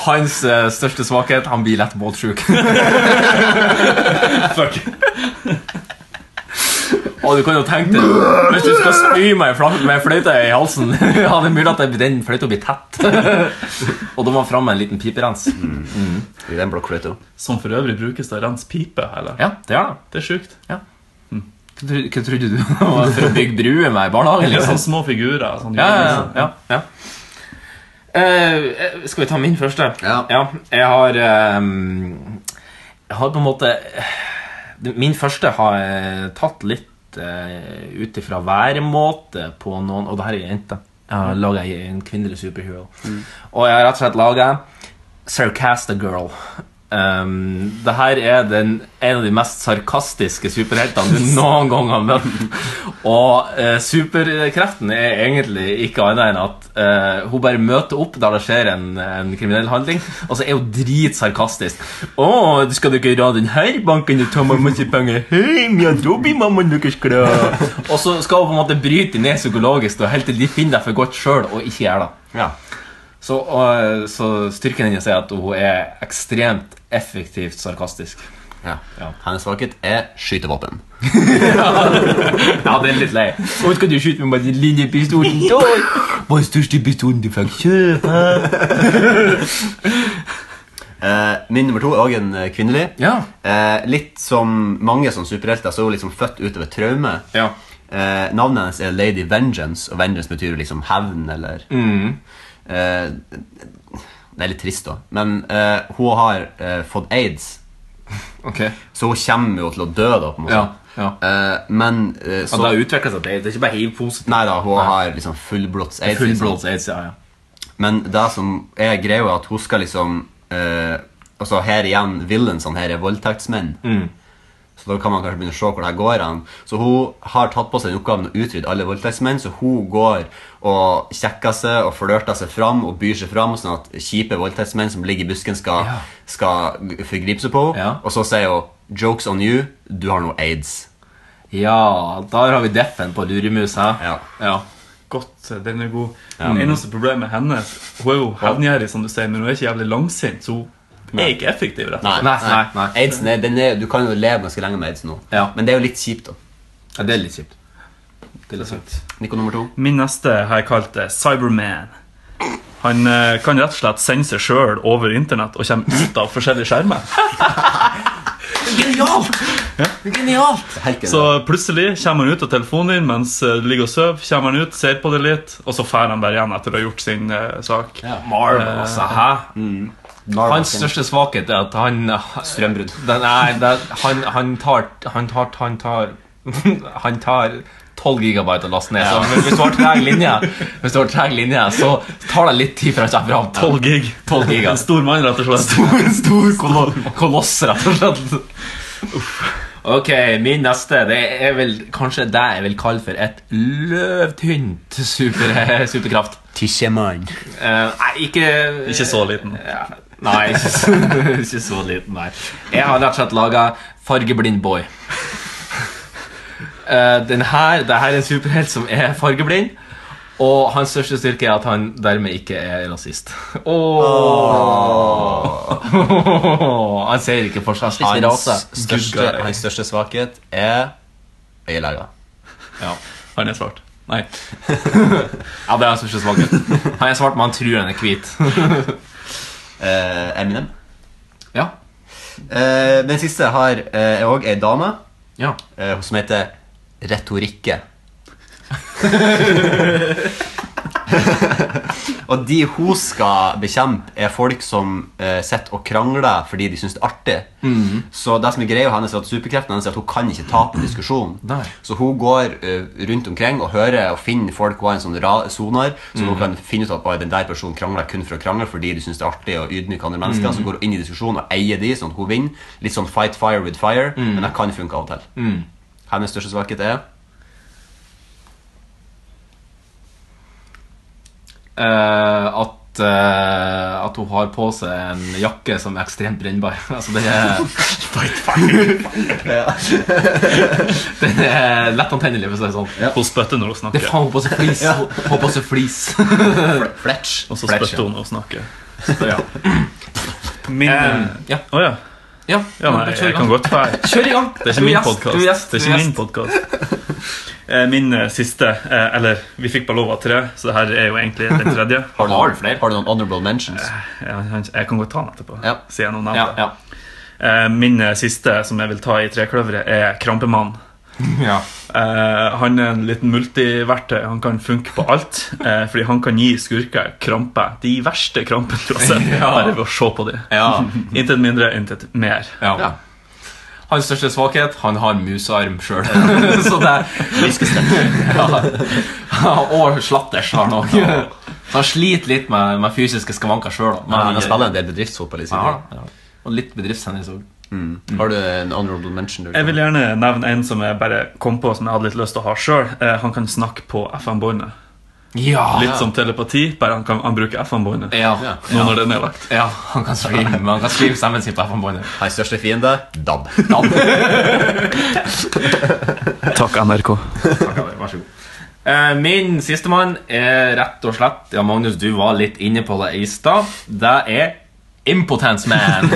Hans eh, største svakhet han blir lett båtsjuk. Fuck. Og du kan jo tenke deg Hvis du skal spy meg fla- med fløyta i halsen, ja, det er mulig at det- den fløyta blir tett. Og da må man fram med en liten piperens.
I den blokkfløyta.
Som for øvrig brukes til å rense pipe. Eller?
Ja, det er det.
Det er sjukt.
Hva tro- hva trodde du det var for å bygge bruer med i barnehagen?
Eller
Liksom?
sånne små figurer. Sånn
Ja, ja, ja, ja. Eh, eh, skal vi ta min første? Ja. jeg har ehm, Jeg har på en måte Min første har jeg tatt litt
ut uh, ut ifra væremåte på noen Og det her er ei jente. Jeg har laga en kvinnelig superhero.
Mm.
Og jeg har rett og slett laga Sarcasta Girl. Um, det her er den, en av de mest sarkastiske superheltene du noen gang har møtt. Og eh, superkreften er egentlig ikke annet enn at eh, hun bare møter opp der det skjer en, en kriminell handling, og så er hun dritsarkastisk. 'Å, du skal dere ra den her banken og ta mamma sin penger?' 'Hei, mia, da blir mammaen deres glad.' Og så skal hun på en måte bryte dem ned psykologisk og helt til de finner deg for godt sjøl og ikke gjør det. Så, og, så styrken hennes er at hun er ekstremt effektivt sarkastisk. Ja. Hennes svakhet er skytevåpen. ja, det er litt lei. Nå skal du skyte meg med den lille pistolen. Da. Hva er største pistolen du fikk kjøpe?
Eh, min nummer to er også en eh, kvinnelig. Eh, litt som mange som superhelter, så er hun liksom født ut av et traume. Eh, navnet hennes er Lady Vengeance, og vengeance betyr jo liksom hevn eller
Mm.
eh, Det er litt trist, da. Men eh, hun har eh, fått aids, så hun kommer jo til å dø, da, på en måte.
Ja,
Eh, men eh, så
Og det har utvikla seg til aids. Det er ikke bare hiv-positivt.
Nei da, hun har liksom fullblods aids.
sånn.
Fullblods
liksom. Men det som er greia, er at hun skal liksom eh, Altså, her igjen, villainsene her er voldtektsmenn. Så da kan man kanskje begynne å se hvor det her går an. Så hun har tatt på seg den oppgaven å utrydde alle voldtektsmenn, så hun går og kjekker seg og flørter seg fram og byr seg fram, sånn at kjipe voldtektsmenn som ligger i busken, skal, skal forgripe seg på henne. Og så sier hun 'Jokes on you, du har nå aids'.
Ja, der har vi deffen på luremus. Ja. ja.
Godt, eh, den er god.
Ja.
Det eneste problemet med henne Hun er jo hevngjerrig, som du sier, men hun er ikke jævlig langsint. Så hun er ikke effektiv, rett
Nei, nei, nei, Aidsen er, den er, Du kan jo leve ganske lenge med aids nå, men det er jo litt kjipt, da.
Ja, det er litt kjipt.
Det er litt sant.
Nico nummer to.
Min neste har jeg kalt eh, Cyberman. Han eh, kan rett og slett sende seg sjøl over internett og kommer ut av forskjellige skjermer.
Genialt! Genialt!
Så plutselig kommer han ut av telefonen din mens eh, du ligger og sover. Kommer han ut, ser på det litt, og så drar han bare igjen etter å ha gjort sin eh, sak. Eh,
Marvel, altså, hæ? Hans største svakhet er at han ah, Strømbrudd. Nei, det, han, han tar Han tar Han tar Han tar 12 gigabyte å laste ned.
Ja.
Så hvis du har treg linje, Hvis du har treg linje så tar det litt tid før han kommer fram.
12 gig.
12 gig, ja.
En stor mann, rett og slett.
Stor, stor kolo- koloss, rett og slett. Ok, min neste Det er vel kanskje det jeg vil kalle for et løvtynt super, superkraft.
Tissemann.
Eh, nei, ikke
Ikke så liten.
Nei, ikke så, ikke så liten, nei. Jeg har rett og slett laga Fargeblind boy. Eh, den her, det her er en superhelt som er fargeblind. Og hans største styrke er at han dermed ikke er rasist. Åh. han ser ikke forskjell på sin rase.
Hans største,
Good guy.
hans største svakhet er øyeleger.
Ja.
Han er svart. Nei.
ja, det er hans største svakhet. Han er svart, men han tror han er hvit.
Eh, Eminem.
Ja.
Eh, den siste har eh, òg ei dame
Ja.
eh, som heter Retorikke. og de hun skal bekjempe, er folk som eh, sitter og krangler fordi de syns det er artig.
Mhm.
Så det som er greia hennes er at superkreften hennes er at hun kan ikke tape diskusjon.
Nei.
Så hun går eh, rundt omkring og hører og finner folk Hun har en sånn ra- sonar, så hun
Mhm.
kan finne ut at «Oi, den der personen krangler kun for å krangle fordi de syns det er artig å ydmyke andre mennesker.
Mhm.
Så går hun inn i diskusjonen og eier de, sånn at hun vinner. Litt sånn fight fire with fire,
Mhm.
men det kan funke av og til.
Mm.
Hennes største svakhet er
Eh, at, eh, at hun har på seg en jakke som er ekstremt brennbar. altså, den er Den er lett antennelig, for å si det sånn.
Hun spytter når hun
Det
snakker.
er faen hun har på seg flis!
Ja.
Hun har på seg flis.
Fletch.
Og så
Fletch,
spytter
ja.
hun når hun snakker.
Så, ja.
Min
Eh,
ja. ja.
Ja,
nei,
men kjør i
jeg
gang.
kan godt være
Kjør i gang.
Det er
Du
ikke min
gjest,
podcast.
du gjest,
Det
du
er ikke min
gjest.
podcast. Eh, Min eh, siste eh, Eller, vi fikk bare lov av tre, så det her er jo egentlig den tredje.
Har du noen, har du noen honorable mentions?
Ja, han- jeg kan godt ta den etterpå.
Ja.
Siden jeg nå nevnte
Ja,
det. Eh, Min eh, siste som jeg vil ta i trekløveret, er Krampemann.
Ja.
Eh, han er en liten multiverktøy. Han kan funke på alt. eh, fordi han kan gi skurker krampe. De verste krampene du har sett,
Ja.
bare ved å se på dem.
Ja.
intet mindre, intet mer.
Ja.
Hans største svakhet han har musearm sjøl. Så det ja. Og slatters har han òg. Så han sliter litt med, med fysiske skavanker sjøl.
Ja, men han spiller en del bedriftsfotball i sin
Ja, ja. Og litt bedriftstennis òg.
Har du en honorable mention? du
Jeg vil gjerne nevne en som jeg bare kom på Som jeg hadde litt lyst til å ha sjøl. Eh, han kan snakke på FM-båndet.
Ja.
Litt som telepati, bare han, kan, han bruker FM-båndet.
Ja.
Nå når det er nedlagt.
Ja, han kan streame, men han kan streame stemmen sin på FM-båndet.
Hans største fiende DAB.
Takk, NRK.
Vær så god. Eh, Min sistemann er rett og slett Ja, Magnus, du var litt inne på det i stad. Det er Impotence Man.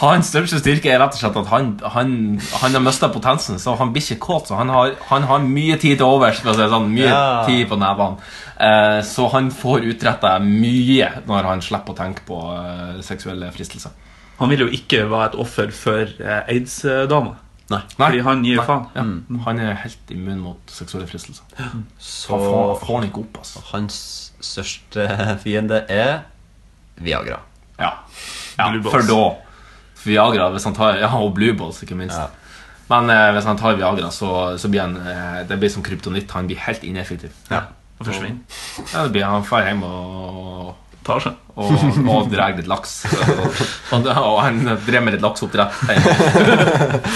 Hans største styrke er rett og slett at han, han, han har mista potensen, så han blir ikke kåt. Så han har, han har mye tid til overs. for å si det sånn, Mye
Ja.
tid på nevene. Eh, Så han får utretta mye når han slipper å tenke på eh, seksuelle fristelser.
Han vil jo ikke være et offer for eh, aids-dama.
Nei.
Fordi han gir
Nei.
faen.
Ja. Han er helt immun mot seksuelle fristelser.
Så
Han får, får han ikke opp, altså.
hans største fiende er Viagra.
Ja. ja
Blue
for
balls.
da Viagra, hvis han tar Ja, og Blue Balls, ikke minst. Men eh, hvis han tar Viagra, så, så blir han eh, Det blir som kryptonitt. Han blir helt ineffektiv.
Ja. Og forsvinner.
Ja, det blir Han drar hjem og
Tar seg.
og, og drar litt laks. Og, og han drev med litt lakseoppdrett. hjemme.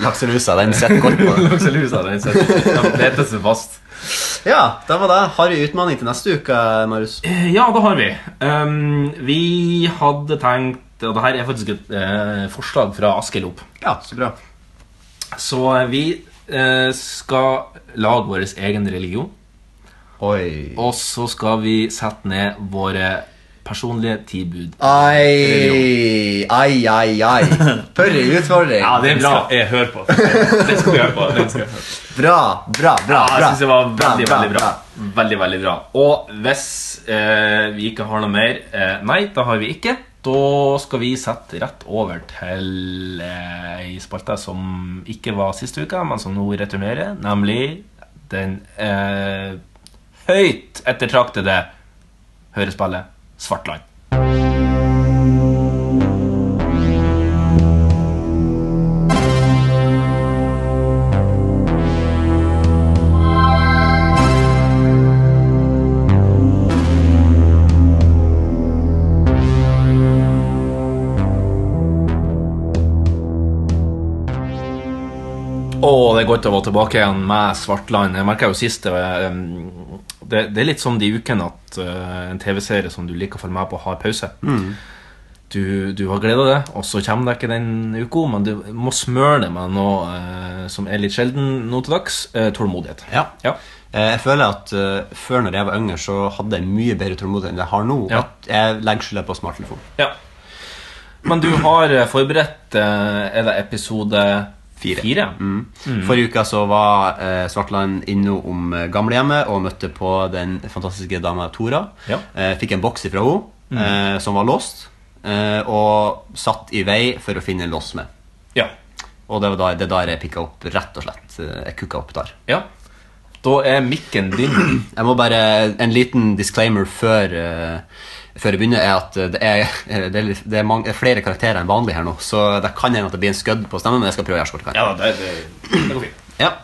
Lakselusa, den sitter godt på.
Lakselusa, den sitter- den beter seg fast.
Ja, det var det. Har vi utfordring til neste uke, Marius?
Eh, Ja, det har vi. Um, vi hadde tenkt Og det her er faktisk et eh, forslag fra Askild opp.
Ja, så bra.
Så eh, vi eh, skal lage vår egen religion.
Oi.
Og så skal vi sette ned våre personlige ti bud.
Ai, ai, ai, ai. For en utfordring.
Ja, det er bra.
Jeg hører på. Det skal vi høre på. Det skal jeg høre på.
Bra, bra, bra.
Ja, jeg
bra.
synes det var
Bra,
veldig,
bra,
veldig bra. Veldig, veldig bra. Og hvis eh, vi ikke har noe mer eh, Nei, det har vi ikke. Da skal vi sette rett over til eh, ei spalte som ikke var sist uke, men som nå returnerer, nemlig den eh, høyt ettertraktede hørespillet Svartland. Å, det er godt å være tilbake igjen med Svartland. Jeg merka jo sist eh, um, det, det er litt som de ukene at eh, en TV-serie som du liker å følge med på, har pause.
Mm.
Du, du har gleda deg, og så kommer det ikke den uka, men du må smøre det med noe eh, som er litt sjelden nå til dags. eh, tålmodighet.
Ja.
Ja.
Eh, Jeg føler at eh, før når jeg var yngre, så hadde jeg mye bedre tålmodighet enn jeg har nå.
Ja.
At jeg legger skylda på smarttelefon.
ja. Men du har eh, forberedt eh, Er det episode
Fire.
fire?
Mm. Forrige uke så var eh, Svartland innom eh, gamlehjemmet og møtte på den fantastiske dama Tora.
Ja. Mm.
Eh, fikk en boks ifra henne eh, som var låst, eh, og satt i vei for å finne en lås med.
Ja.
Og det var da, det er der jeg pikka opp, rett og slett. Eh, Jeg kukka opp der.
ja. Da er mikken din.
Jeg må bare En liten disclaimer før, eh, før jeg begynner, er at eh, det er, eh, det er, litt- det er mange, flere karakterer enn vanlig her nå, så det kan hende at det blir en skudd på stemmen, men jeg skal prøve å gjøre så godt jeg kan.
Ja, det, det, det går fint.
Ja.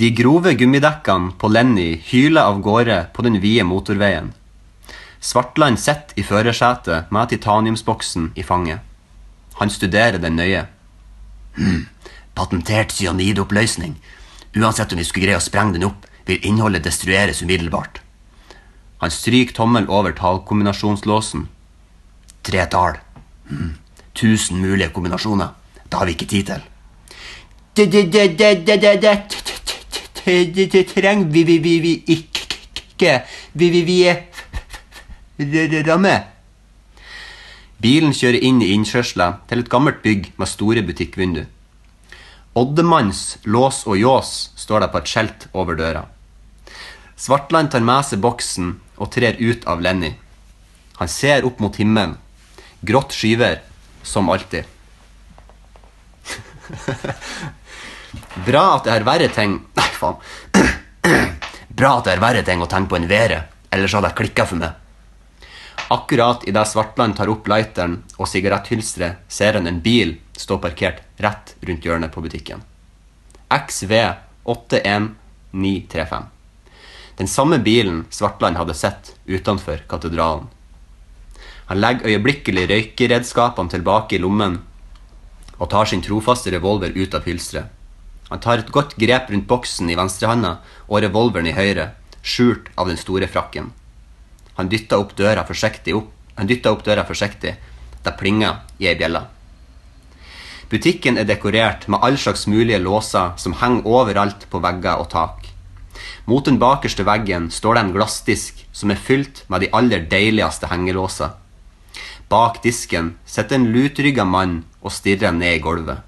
De grove gummidekkene på Lenny hyler av gårde på den vide motorveien. Svartland sitter i førersetet med titaniumsboksen i fanget. Han studerer den nøye. «Hm, patentert cyanidoppløsning. Uansett om vi skulle greie å sprenge den opp, vil innholdet destrueres umiddelbart. Han stryker tommel over tallkombinasjonslåsen. Tre tall. Hm, tusen mulige kombinasjoner. Det har vi ikke tid til. Det, det, det, det, det, det, det, t- t- t- t- t- det, det trenger vi, vi, vi, vi ikke. ikke. Vi, vi, vi er f- f- f- r- r- ramme. Bilen kjører inn i innkjørsla til et gammelt bygg med store butikkvindu. Oddemanns lås og ljås står der på et skjelt over døra. Svartland tar med seg boksen og trer ut av Lenny. Han ser opp mot himmelen. Grått skyver, som alltid. Bra at det er verre ting Nei, faen. Bra at det er verre ting å tenke på enn været, ellers hadde jeg klikka for meg. Akkurat idet Svartland tar opp lighteren og sigaretthylsteret, ser han en bil stå parkert rett rundt hjørnet på butikken. XV81935. Den samme bilen Svartland hadde sett utenfor katedralen. Han legger øyeblikkelig røykeredskapene tilbake i lommen og tar sin trofaste revolver ut av hylsteret. Han tar et godt grep rundt boksen i venstrehanda og revolveren i høyre, skjult av den store frakken. Han dytta opp døra forsiktig opp. Han dytta opp døra forsiktig. Det plinga i ei bjelle. Butikken er dekorert med all slags mulige låser som henger overalt på vegger og tak. Mot den bakerste veggen står det en glassdisk som er fylt med de aller deiligste hengelåser. Bak disken sitter en lutrygga mann og stirrer ned i gulvet.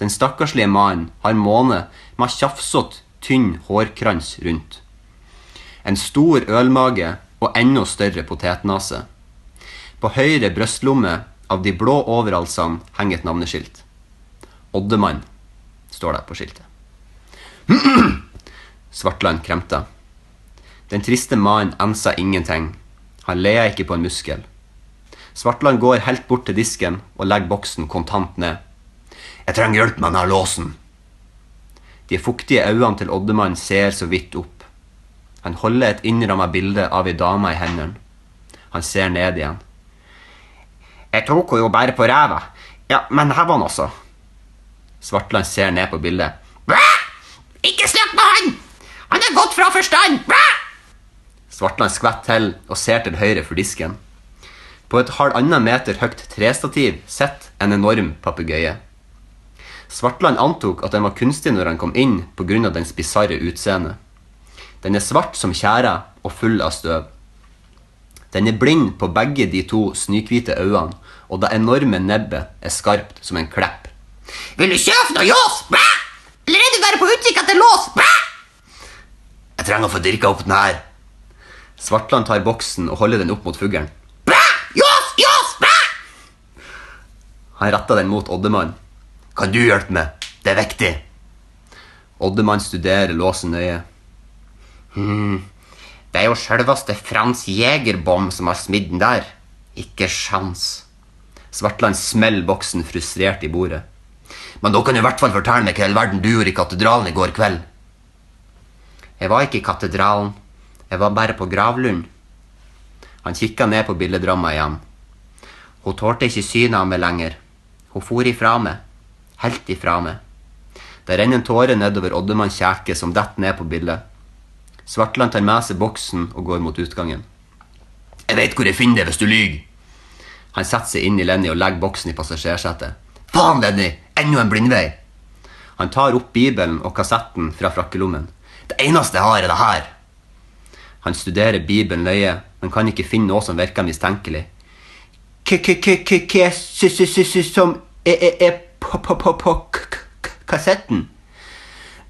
Den stakkarslige mannen har måne med tjafsete, tynn hårkrans rundt. En stor ølmage og enda større potetnese. På høyre brystlomme av de blå overhalsene henger et navneskilt. Oddemann står det på skiltet. Svartland kremter. Den triste mannen enser ingenting. Han ler ikke på en muskel. Svartland går helt bort til disken og legger boksen kontant ned. Jeg trenger hjelp med denne låsen. De fuktige øynene til Oddemann ser så vidt opp. Han holder et innramma bilde av ei dame i hendene. Han ser ned igjen. Jeg tok henne jo bare på ræva. Ja, men her var han også. Svartland ser ned på bildet. Bæ! Ikke snakk med han! Han er gått fra forstand! Bæ! Svartland skvetter til og ser til høyre for disken. På et halvannen meter høyt trestativ sitter en enorm papegøye. Svartland antok at den var kunstig når han kom inn pga. dens bisarre utseende. Den er svart som tjære og full av støv. Den er blind på begge de to snykhvite øynene, og det enorme nebbet er skarpt som en klepp.
Vil du kjøpe noe ljås? Bæ! Eller er du bare på utkikk etter lås? Bæ!
Jeg trenger å få dirka opp den her. Svartland tar boksen og holder den opp mot fuglen.
Ljås! Ljås! Bæ!
Han retter den mot Oddemann. Kan du hjelpe meg? Det er viktig. Oddemann studerer låsen nøye.
Hmm. Det er jo selveste Frans Jegerbom som har smidd den der. Ikke sjans.
Svartland smeller boksen frustrert i bordet. Men da kan du i hvert fall fortelle meg hva i all verden du gjorde i katedralen i går kveld.
Jeg var ikke i katedralen. Jeg var bare på gravlund.
Han kikka ned på billedramma igjen.
Hun tålte ikke synet av meg lenger. Hun for ifra meg. Helt ifra meg.
Det renner en tåre nedover Oddemann kjeke som detter ned på bildet. Svartland tar med seg boksen og går mot utgangen. Jeg veit hvor jeg finner det hvis du lyver! Han setter seg inn i Lenny og legger boksen i passasjersetet. Faen, Lenny! Enda en blindvei! Han tar opp Bibelen og kassetten fra frakkelommen. Det eneste jeg har, er det her! Han studerer Bibelen nøye, men kan ikke finne noe som virker mistenkelig.
K-k-k-k-k som er på kassetten?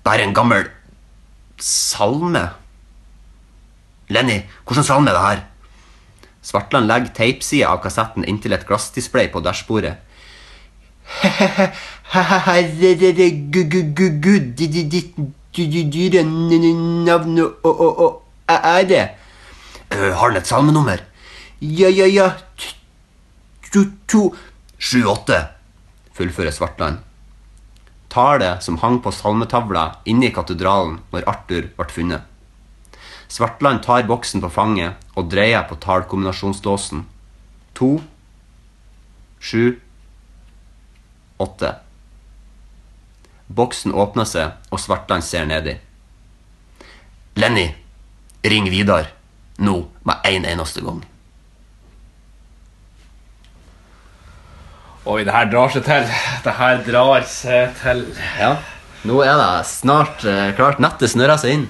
Det er en gammel salme. Lenny, hvordan salme er det her? Svartland legger teipsida av kassetten inntil et glassdisplay på dashbordet.
Herregud, ditt dyre navn og er det?
Uh, har den et salmenummer?
Ja, ja, ja To, to.
Sju, åtte, fullfører Svartland. Tallet som hang på salmetavla inne i katedralen når Arthur ble funnet. Svartland tar boksen på fanget og dreier på tallkombinasjonslåsen. To, sju, åtte. Boksen åpner seg, og Svartland ser nedi. Lenny, Ring Vidar nå no, med en eneste gang.
Oi, det her drar seg til. Det her drar seg til.
Ja, Nå er det snart eh, klart. Nettet snører seg inn.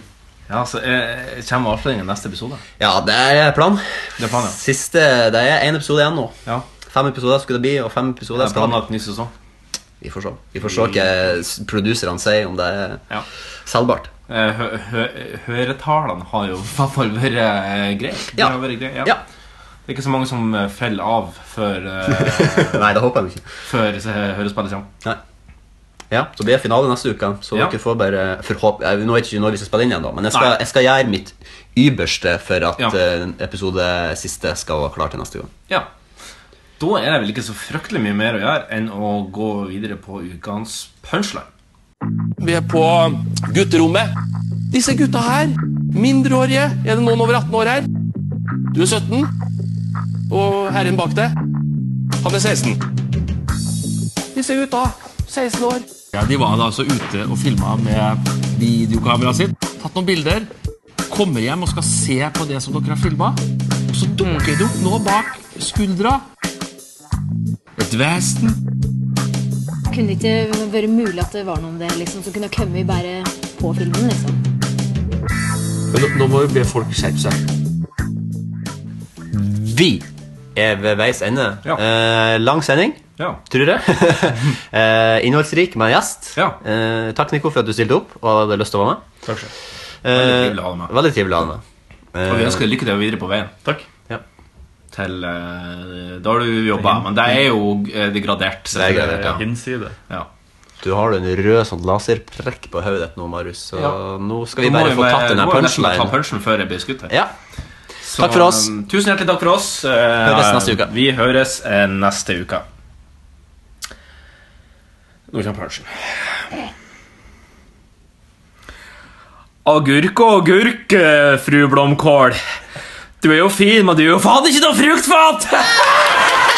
Ja, så eh, Kommer avsløringen i neste episode?
Ja, det er planen.
Det er plan, ja.
Siste, det er én episode igjen nå. Ja. Fem episoder skulle det bli, og fem episoder
skal planlagt ny sesong.
Vi får se. Vi får se hva produserne sier, om det er ja. selgbart.
Eh, Hø hø høretallene har jo i hvert fall vært eh, greie.
Ja.
Grei,
ja. ja.
Det er ikke så mange som eh, faller av før eh,
Nei, det håper jeg ikke.
Før hørespillet kommer.
Nei. Ja, så blir det finale neste uke. Så
Ja.
dere får bare forhåp... Jeg, nå vet ikke når vi skal spille inn igjen, da, men jeg skal, jeg skal gjøre mitt yberste for at eh, episode siste skal være klar til neste gang.
Ja. Da er det vel ikke så fryktelig mye mer å gjøre enn å gå videre på ukens punchline.
Vi er på gutterommet. Disse gutta her, mindreårige Er det noen over 18 år her? Du er 17, og herren bak deg, han er 16. Disse gutta, 16 år. Ja, De var da altså ute og filma med videokameraet sitt. Tatt noen bilder. Kommer hjem og skal se på det som dere har filma. Og så dukker det opp noe bak skuldra. Et vesen.
Kunne det ikke vært mulig at det var noe om det liksom, som kunne komme bare på filmen? liksom?
Men nå, nå må vi be folk skjerpe seg.
Vi er ved veis ende. Eh, lang sending, tror jeg. eh, innholdsrik med en gjest. Eh, takk, Nico, for at du stilte opp og hadde lyst til å være med.
Takk skal
Eh,
Veldig trivelig å ha deg med.
veldig trivelig å ha deg med.
Og vi
Eh,
ønsker lykke til videre på veien.
Takk.
Til eh, Da har du jobba, men det er jo eh, degradert. så
Det er gradert, ja.
Hinside.
Ja.
Du har en rød sånn laserprekk på hodet ditt nå, Marius. Så
Ja.
nå skal vi
Da må
bare få
bare-
tatt den
må vi nesten
punchline.
Ta punchen før jeg blir skutt her.
Ja. Takk for oss.
um, Tusen hjertelig takk for oss. Eh,
um,
Høres neste uke.
Vi høres eh, neste uke. Nå kommer punchen.
Agurk og agurk, eh, fru Blomkål. Du er jo fin, men du er jo faen ikke noe fruktfat!